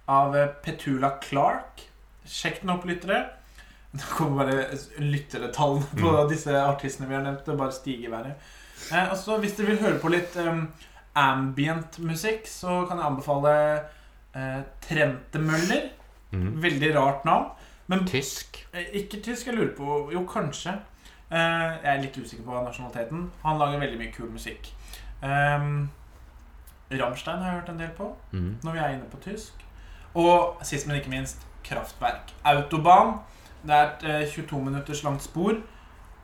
B: av eh, Petula Clark. Sjekk den opp, lyttere. Nå kommer bare lyttertallene på disse artistene vi har nevnt. Det bare stiger i været. Eh, og så hvis dere vil høre på litt eh, ambient musikk, så kan jeg anbefale eh, Trente Møller.
C: Mhm.
B: Veldig rart navn. Men
C: Tysk.
B: Eh, Ikke tysk, jeg lurer på Jo, kanskje. Eh, jeg er litt usikker på nasjonaliteten. Han lager veldig mye kul musikk. Um, Rammstein har jeg hørt en del på,
C: Mhm.
B: når vi er inne på tysk. Og sist, men ikke minst, Kraftverk. Autobahn. Det er et eh, 22 minutters langt spor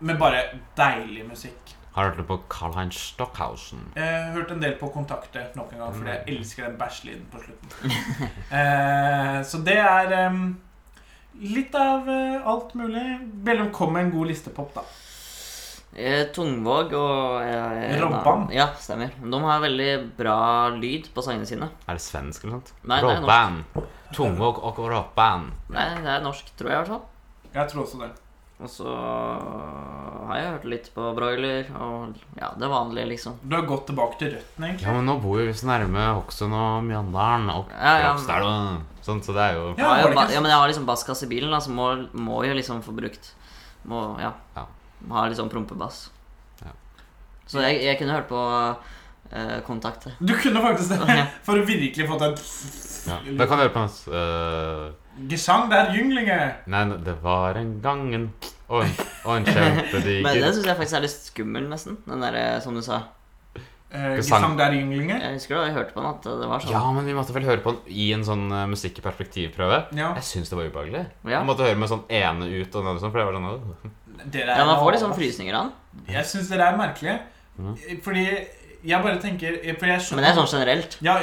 B: med bare deilig musikk.
C: Har du hørt på Karlheim Stockhausen?
B: Jeg har hørt en del på Kontakter nok en gang, fordi jeg elsker den bæsjelyden på slutten. eh, så det er em, litt av eh, alt mulig. Bellum kom med en god listepop, da.
A: Eh, Tungvåg og eh,
B: Robban.
A: Ja, stemmer. De har veldig bra lyd på sangene sine.
C: Er det svensk eller noe sånt?
A: Nei, nei, norsk.
C: Rockband. Tungvåg og rockband.
A: Nei, det er norsk, tror jeg i hvert fall.
B: Jeg tror også det.
A: Og så har jeg hørt litt på broiler og ja, det vanlige, liksom.
B: Du har gått tilbake til røttene,
C: Ja,
B: egentlig.
C: men nå bor jo vi så nærme Hokksund og Mjøndalen og
A: Ja, ja.
C: Krokstadelv. Sånn, så det er jo
B: Ja,
A: Ja,
B: var det
A: jeg,
B: ikke-
A: ba- ja, men jeg har liksom bassgass i bilen, da, så må, må jo liksom få brukt Må, ja.
C: Ja.
A: Må ha litt sånn prompebass.
C: Ja.
A: Så jeg, jeg kunne hørt på eh, Kontakt. jeg.
B: Du kunne faktisk det,
A: Ja.
B: for å virkelig fått en
C: ja. Det kan du høre på hans øh,
B: Gesang der, junglinge!
C: Nei, det var en gang en Og en, og
A: Men
C: en
A: den
C: kjempediger
A: syns jeg faktisk er litt skummel, nesten. Den derre som du sa.
B: Eh,
C: Gesang.
B: Gesang der, junglinge.
A: Jeg husker da jeg hørte på den at det var sånn.
C: Ja, men vi måtte vel høre på den i en sånn øh, musikk i perspektivprøve.
B: Ja.
C: Jeg syns det var ubehagelig.
A: Ja.
C: Jeg måtte høre med sånn ene ut og den andre sånn, for jeg var sånn øh.
B: Dere er-
A: Ja, man får litt sånn frysninger av den.
B: Jeg syns dere er merkelige. Fordi jeg bare tenker For jeg skjønner
A: Men det er sånn generelt.
B: Ja,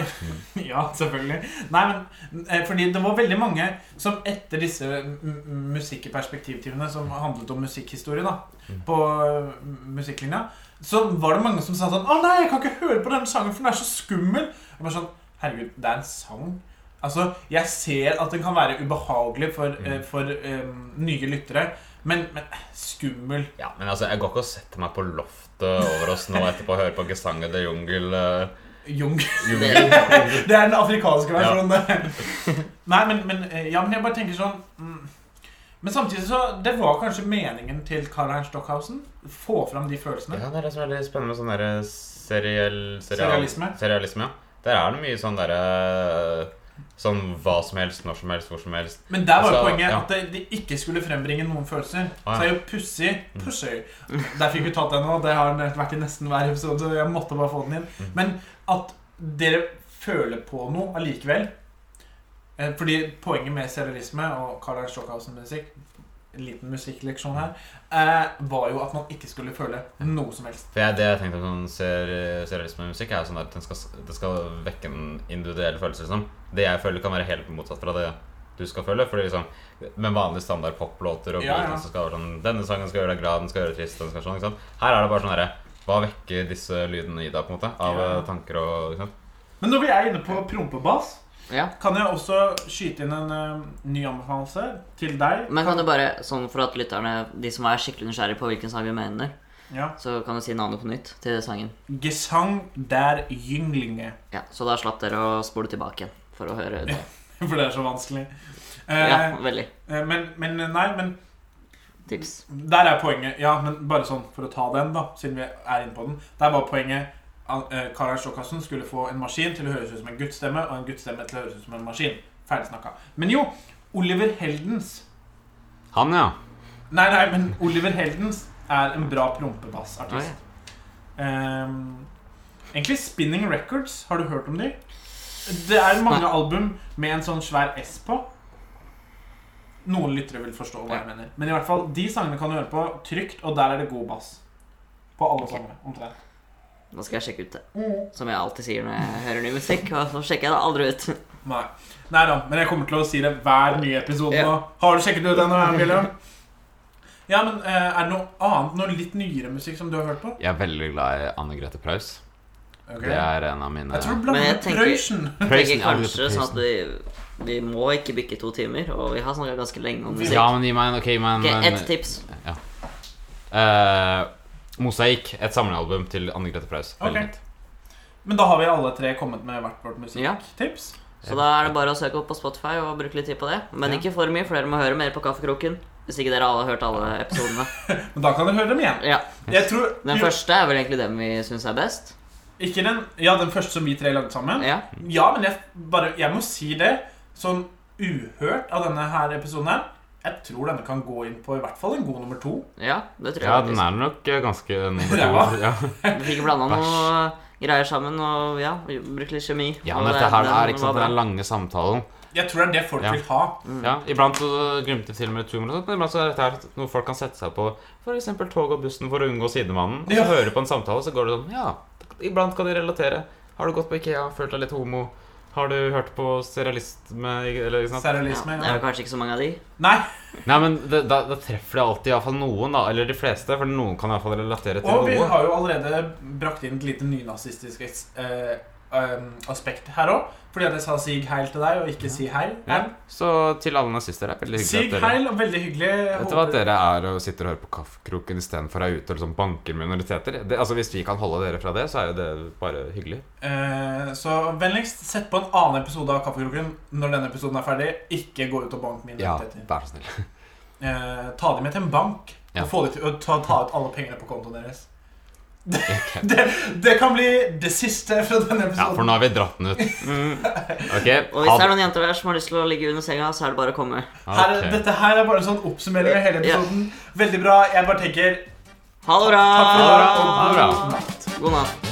B: ja selvfølgelig. Nei, men eh, Fordi det var veldig mange som etter disse m- m- musikk i perspektivtimene, som handlet om musikkhistorie, da, på eh, musikklinja, så var det mange som sa sånn 'Å nei, jeg kan ikke høre på denne sangen, for den er så skummel'. Jeg bare sånn Herregud, det er en sang. Altså, jeg ser at den kan være ubehagelig for, eh, for eh, nye lyttere, men, men skummel
C: Ja, men altså, jeg går ikke og setter meg på loftet over oss nå etterpå og hører på Gesang eller Jungel. øh.
B: Jung.
A: Det,
B: Det er den afrikanske
C: Ja.
B: versjonen. Nei, men, men, eh, ja, men jeg bare tenker sånn mm. Men samtidig så Det var kanskje meningen til Karl-Heinz Stockhausen? Få fram de følelsene?
C: Ja, det er det som er litt spennende med sånn derre seriell, serial,
B: Serialisme.
C: serialisme, ja. Der er det mye sånn derre Sånn hva som helst, når som helst, hvor som helst.
B: Men der var jo
C: Altså,
B: poenget
C: ja.
B: at det- de ikke skulle frembringe noen følelser.
C: Ah, ja.
B: Så er jo pussig Pussig. Der fikk vi tatt den nå. Det har den vært i nesten hver episode, så jeg måtte bare få den inn.
C: Mm.
B: Men at dere føler på noe allikevel eh, Fordi poenget med serialisme og Karl Heinz Stockhausen-musikk en liten musikkleksjon her eh, var jo at man ikke skulle føle noe som helst.
C: For jeg, Det jeg tenkte om sånn ser, serialisme i musikk, er jo sånn at den skal, det skal vekke en individuell følelse. Liksom. Det jeg føler, kan være helt motsatt fra det du skal føle. Fordi liksom, Med vanlige standard poplåter og
B: Ja, ja.
C: blues, så skal det være sånn Denne sangen skal gjøre deg glad, den skal gjøre deg trist den skal sånn, ikke sant? Her er det bare sånn herre Hva vekker disse lydene i deg, på en måte? Av
B: Ja.
C: eh, tanker og ikke sant?
B: Men når vi er inne på prompebass,
A: ja.
B: kan jeg også skyte inn en eh, ny anbefaling til deg.
A: Men kan du bare, sånn for at lytterne, de som er skikkelig nysgjerrige på hvilken sang vi mener,
B: Ja.
A: så kan du si navnet på nytt til sangen.
B: Gesang der gynglinge.
A: Ja, Så da slapp dere å spole tilbake igjen for å høre det.
B: For det er så vanskelig. Eh,
A: Ja, veldig.
B: eh, men, men nei, men
A: Tips.
B: der er poenget. Ja, men bare sånn for å ta den, da, siden vi er inne på den. Der var poenget at eh, Karl Stokkassen skulle få en maskin til å høres ut som en guttstemme, og en guttstemme til å høres ut som en maskin. Ferdig snakka. Men jo, Oliver Heldens
C: Han, ja.
B: Nei, nei, men Oliver Heldens er en bra prompebassartist. Ehm, egentlig Spinning Records. Har du hørt om de? Det er mange album med en sånn svær S på. Noen lyttere vil forstå hva jeg mener. Men i hvert fall, de sangene kan du høre på trygt, og der er det god bass. På alle sangene. omtrent. Mm.
A: Nå skal jeg sjekke ut det. Som jeg alltid sier når jeg hører ny musikk. Og så sjekker jeg det aldri ut.
B: Nei. Nei da, men jeg kommer til å si det hver nye episode
A: Ja.
B: nå. Har du sjekket ut den? William? Ja, men eh, Er det noe annet, noe litt nyere musikk som du har hørt på?
C: Jeg er veldig glad i Anne Grete Preus.
B: Ok.
C: Det er en av mine
B: Jeg tror du
A: Men jeg
B: blander
A: tenker-
B: Prøysen.
C: Preussen,
A: Tenker
C: Anne Grete
A: kanskje sånn at
C: Preussen.
A: vi, vi må ikke bikke to timer, og vi har snakka ganske lenge om musikk.
C: Ja, men gi meg en, ok, gi meg
A: Ok,
C: en,
A: ett tips.
C: Eh, Mosaikk, et samlealbum til Anne Grete Preus. Veldig
B: Ok.
C: fint.
B: Men da har vi alle tre kommet med hvert vårt musikktips.
A: Så da er det bare å søke opp på Spotify og bruke litt tid på det. Men
C: Ja.
A: ikke for mye, for dere må høre mer på Kaffekroken. Hvis ikke dere alle har hørt alle episodene.
B: Men da kan dere høre dem igjen.
A: Ja,
B: Jeg tror
A: Den første er vel egentlig den vi syns er best.
B: Ikke den, ja, den første som vi tre lagde sammen.
A: Ja.
B: Ja, men jeg, bare, jeg må si det som uhørt av denne her episoden her. Jeg tror denne kan gå inn på i hvert fall en god nummer to.
A: Ja, det tror jeg.
C: Ja,
A: faktisk.
C: den er nok eh, ganske nummer
B: Ja.
C: to. Ja.
A: Vi fikk blanda
C: Bæsj.
A: noe greier sammen og ja, vi brukte litt kjemi.
C: ja,
A: og
C: men dette
A: det-
C: her
A: den
C: er ikke sant,
A: var bra.
C: den
A: Mm.
C: lange samtalen.
B: Jeg tror det er det folk
C: Ja.
B: vil ha.
C: Ja, Iblant så glimter til og med tumor, og sånt, men sånn, iblant så er dette her noe folk kan sette seg på f.eks. tog og bussen for å unngå sidemannen. Og så
B: Ja.
C: hører du på en samtale, så går det sånn Ja, iblant kan de relatere. Har du gått på Ikea, følt deg litt homo? Har du hørt på serialisme eller ikke sant?
B: Serialisme.
A: Ja, det
B: Ja.
A: er jo kanskje ikke så mange av de.
B: Nei,
C: Nei, men det, da, da treffer det alltid iallfall noen, da. Eller de fleste, for noen kan iallfall relatere til
B: og vi
C: noe.
B: har jo allerede brakt inn et lite nynazistisk eh, em, aspekt her òg. Fordi at jeg sa 'sig heil' til deg, og ikke 'si heil'.
C: Ja. Så til alle nazister, det er veldig hyggelig
B: Sig
C: at dere
B: heil, og veldig hyggelig.
C: Vet du hva
B: håper-
C: at dere er og sitter og hører på Kaffekroken istedenfor er ute og liksom banker minoriteter? Det, altså Hvis vi kan holde dere fra det, så er jo det bare hyggelig.
B: Eh, Så vennligst sett på en annen episode av Kaffekroken når denne episoden er ferdig. Ikke gå ut og bank mine
C: Ja,
B: rettigheter.
C: vær så snill.
B: Eh, ta dem med til en bank
C: Ja.
B: og få de til, og ta, ta ut alle pengene på kontoen deres.
C: Ok.
B: Det, det kan bli det siste fra denne
C: Ja, for
B: episoden.
C: nå har vi dratt den ut. Ok,
A: Mm. Og hvis det er noen jenter der som har lyst til å ligge under senga, så er det bare å komme.
B: her,
C: Ok.
B: Dette her er bare en sånn oppsummering av hele
A: Ja.
B: episoden. Veldig bra. Jeg bare tenker
A: Ha det bra!
B: takk for i dag
C: Ha det bra.
B: og god natt.
A: God natt.